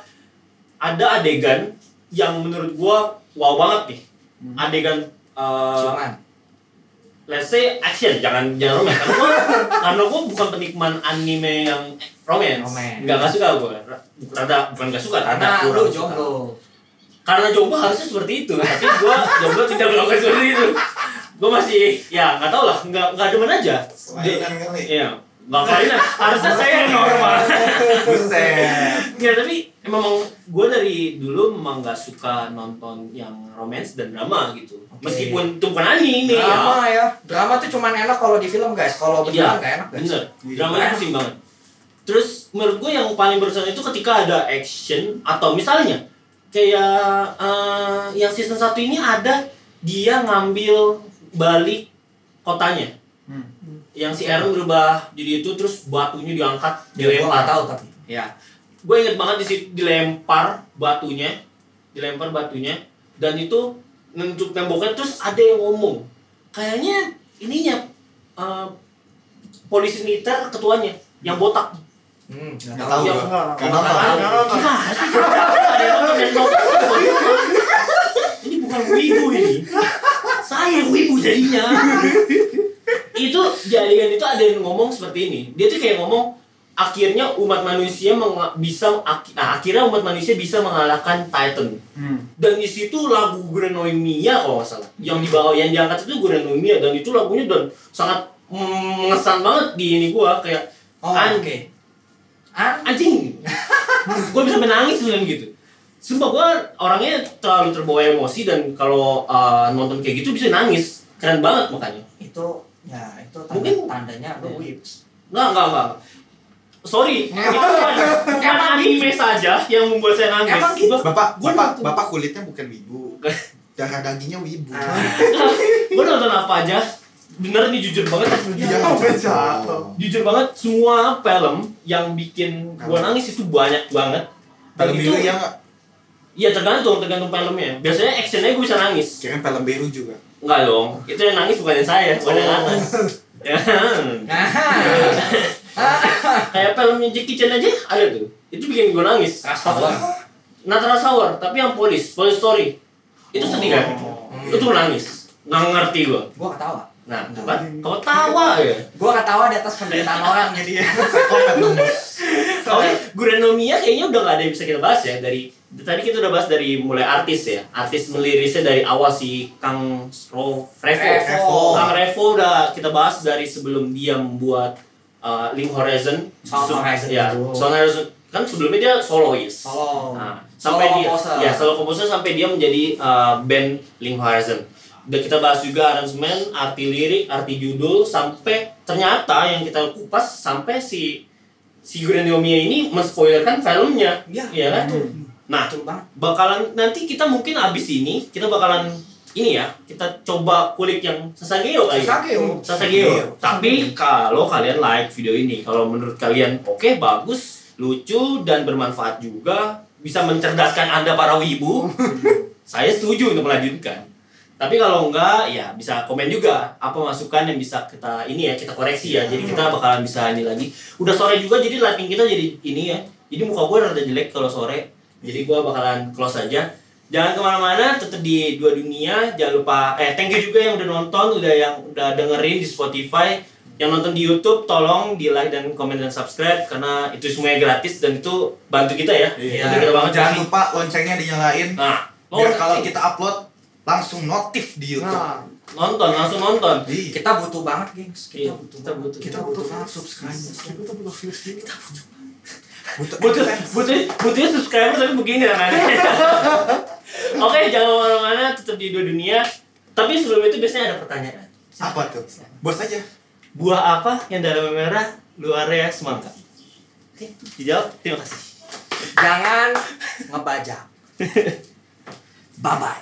[SPEAKER 2] ada adegan yang menurut gue wow banget nih adegan eh,
[SPEAKER 4] Cuman
[SPEAKER 2] let's say action jangan jangan romance karena gue karena gue bukan penikman anime yang romance,
[SPEAKER 4] Romance.
[SPEAKER 2] nggak nggak suka gue rada bukan nggak suka rada
[SPEAKER 4] karena
[SPEAKER 2] kurang
[SPEAKER 4] lu
[SPEAKER 2] suka.
[SPEAKER 4] jomblo.
[SPEAKER 2] karena jomblo harusnya seperti itu tapi gue jomblo tidak melakukan seperti itu gue masih ya nggak tau lah nggak nggak demen aja
[SPEAKER 3] Selainan kali.
[SPEAKER 2] iya nggak kelainan harusnya saya yang normal
[SPEAKER 3] Buset.
[SPEAKER 2] ya tapi memang gue dari dulu memang nggak suka nonton yang romance dan drama gitu meskipun itu bukan anime ya
[SPEAKER 4] Drama ya. Drama tuh cuman enak kalau di film guys. Kalau
[SPEAKER 2] Iya,
[SPEAKER 4] beneran nggak enak guys.
[SPEAKER 2] Bener, dramanya pusing banget. Terus menurut gue yang paling berkesan itu ketika ada action atau misalnya kayak eh, yang season satu ini ada dia ngambil balik kotanya.
[SPEAKER 3] Hmm.
[SPEAKER 2] Yang si Aaron berubah jadi itu terus batunya diangkat
[SPEAKER 4] Gue Iya, nggak
[SPEAKER 2] dilempar.
[SPEAKER 4] tahu tapi.
[SPEAKER 2] Ya, gue inget banget di situ dilempar batunya, dilempar batunya dan itu nentuk temboknya terus ada yang ngomong kayaknya ininya eh, polisi militer ketuanya yang botak
[SPEAKER 4] Hmm, nggak
[SPEAKER 3] Nggak
[SPEAKER 4] tahu.
[SPEAKER 3] tahu
[SPEAKER 2] Iya.
[SPEAKER 3] gua. Nggak
[SPEAKER 2] Nggak
[SPEAKER 3] nonton.
[SPEAKER 2] tahu.
[SPEAKER 5] Nggak nonton.
[SPEAKER 2] Gimana sih? Ada yang nonton dan nonton. ini bukan wibu ini saya yang wibu jadinya itu jadian itu ada yang ngomong seperti ini dia tuh kayak ngomong akhirnya umat manusia menga- bisa ak- nah, akhirnya umat manusia bisa mengalahkan Titan
[SPEAKER 3] Hmm.
[SPEAKER 2] dan di situ lagu Grenoemia kalau nggak salah yang dibawa yang diangkat itu Grenoemia dan itu lagunya dan sangat mm, mengesan banget di ini gua kayak
[SPEAKER 4] Oh,
[SPEAKER 2] an-
[SPEAKER 4] oke. Ah,
[SPEAKER 2] anjing gua bisa menangis dengan gitu sumpah gua orangnya terlalu terbawa emosi dan kalau uh, nonton kayak gitu bisa nangis keren banget makanya
[SPEAKER 4] itu ya itu tanda,
[SPEAKER 2] Mungkin-
[SPEAKER 4] tandanya
[SPEAKER 2] Iya.
[SPEAKER 4] lu whips.
[SPEAKER 2] nggak nggak nggak sorry itu bukan anime saja yang membuat saya nangis
[SPEAKER 4] gitu? Emang gitu?
[SPEAKER 2] Gua-
[SPEAKER 3] Bapak,
[SPEAKER 2] Gua
[SPEAKER 3] bapak,
[SPEAKER 2] nonton.
[SPEAKER 3] bapak kulitnya bukan wibu. Darah dagingnya wibu.
[SPEAKER 2] Ah. gue nonton apa aja bener nih jujur banget
[SPEAKER 5] Iya, gue jatuh.
[SPEAKER 2] jujur banget semua film yang bikin gua nangis itu banyak banget
[SPEAKER 3] Film
[SPEAKER 2] itu
[SPEAKER 3] biru ya nggak?
[SPEAKER 2] ya tergantung tergantung filmnya biasanya actionnya gue bisa nangis
[SPEAKER 3] Kirain film biru juga.
[SPEAKER 2] enggak dong itu yang nangis bukan yang saya bukan
[SPEAKER 4] Oh.
[SPEAKER 2] yang atas Ya.
[SPEAKER 4] Nah,
[SPEAKER 2] kayak filmnya Jackie Chan aja ada tuh itu bikin gua nangis
[SPEAKER 4] kasar.
[SPEAKER 2] Natural Sour tapi yang polis polis story itu sedih kan
[SPEAKER 4] Oh.
[SPEAKER 2] itu nangis nggak ngerti gua
[SPEAKER 4] Hmm. Gua ketawa.
[SPEAKER 2] nah tuh kan kau tawa ya
[SPEAKER 4] Gua ketawa di atas penderitaan orang jadi. ya.
[SPEAKER 3] Kopet dong.
[SPEAKER 2] Oke, Gurenomia kayaknya udah gak ada yang bisa kita bahas ya dari tadi kita udah bahas dari mulai artis ya. Artis melirisnya dari awal si Kang Ro- Revo.
[SPEAKER 4] Revo.
[SPEAKER 2] Kang Revo udah kita bahas dari sebelum dia membuat uh, Link Horizon.
[SPEAKER 4] Sound
[SPEAKER 2] Se-
[SPEAKER 4] Horizon
[SPEAKER 2] Ya,
[SPEAKER 4] dulu.
[SPEAKER 2] Sound Horizon. Kan sebelumnya dia soloist.
[SPEAKER 4] Solo.
[SPEAKER 2] Nah,
[SPEAKER 4] Oh. Solo
[SPEAKER 2] sampai dia
[SPEAKER 4] komposer.
[SPEAKER 2] ya solo komposer sampai dia menjadi uh, band Link Horizon. Udah kita bahas juga aransemen, arti lirik, arti judul sampai ternyata yang kita kupas sampai si si Grandiomia ini menspoilerkan filmnya.
[SPEAKER 4] Iya.
[SPEAKER 2] kan? Nah,
[SPEAKER 4] Betul banget.
[SPEAKER 2] bakalan nanti kita mungkin abis ini kita bakalan ini ya kita coba kulik yang Sasageo kali ya.
[SPEAKER 4] Sasageo.
[SPEAKER 2] Sasageo. Tapi kalau kalian like video ini, kalau menurut kalian oke bagus, lucu dan bermanfaat juga, bisa mencerdaskan Anda para wibu, saya setuju untuk melanjutkan. Tapi kalau enggak ya bisa komen juga apa masukan yang bisa kita ini ya kita koreksi ya. Jadi
[SPEAKER 3] Hmm.
[SPEAKER 2] kita bakalan bisa ini lagi. Udah sore juga jadi lighting kita jadi ini ya. Jadi muka gue rada jelek kalau sore. Jadi gue bakalan close aja. Jangan kemana-mana, tetap di dua dunia. Jangan lupa, eh thank you juga yang udah nonton, udah yang udah dengerin di Spotify, yang nonton di YouTube, tolong di like dan komen dan subscribe karena itu semuanya gratis dan itu bantu kita ya. Bantu kita banget.
[SPEAKER 3] Iya. Jangan lupa loncengnya dinyalain.
[SPEAKER 2] Nah,
[SPEAKER 3] Biar
[SPEAKER 2] nonton.
[SPEAKER 3] kalau kita upload langsung notif di YouTube.
[SPEAKER 5] Nah,
[SPEAKER 2] nonton langsung nonton.
[SPEAKER 3] Iya.
[SPEAKER 4] Kita butuh banget, gengs. Kita
[SPEAKER 2] Iya,
[SPEAKER 4] butuh.
[SPEAKER 2] kita
[SPEAKER 4] banget.
[SPEAKER 2] butuh.
[SPEAKER 4] Kita butuh banget subscribe.
[SPEAKER 5] kita butuh views juga.
[SPEAKER 3] Butuh
[SPEAKER 2] butuh
[SPEAKER 3] adsense.
[SPEAKER 2] butuh butuh subscriber tapi begini tangannya oke jangan kemana-mana tetap di dua dunia tapi sebelum itu biasanya ada pertanyaan
[SPEAKER 3] Apa tuh? Bos aja.
[SPEAKER 2] buah apa yang dalamnya merah luarnya semangka oke dijawab terima kasih
[SPEAKER 1] Jangan ngebajak. Bye bye.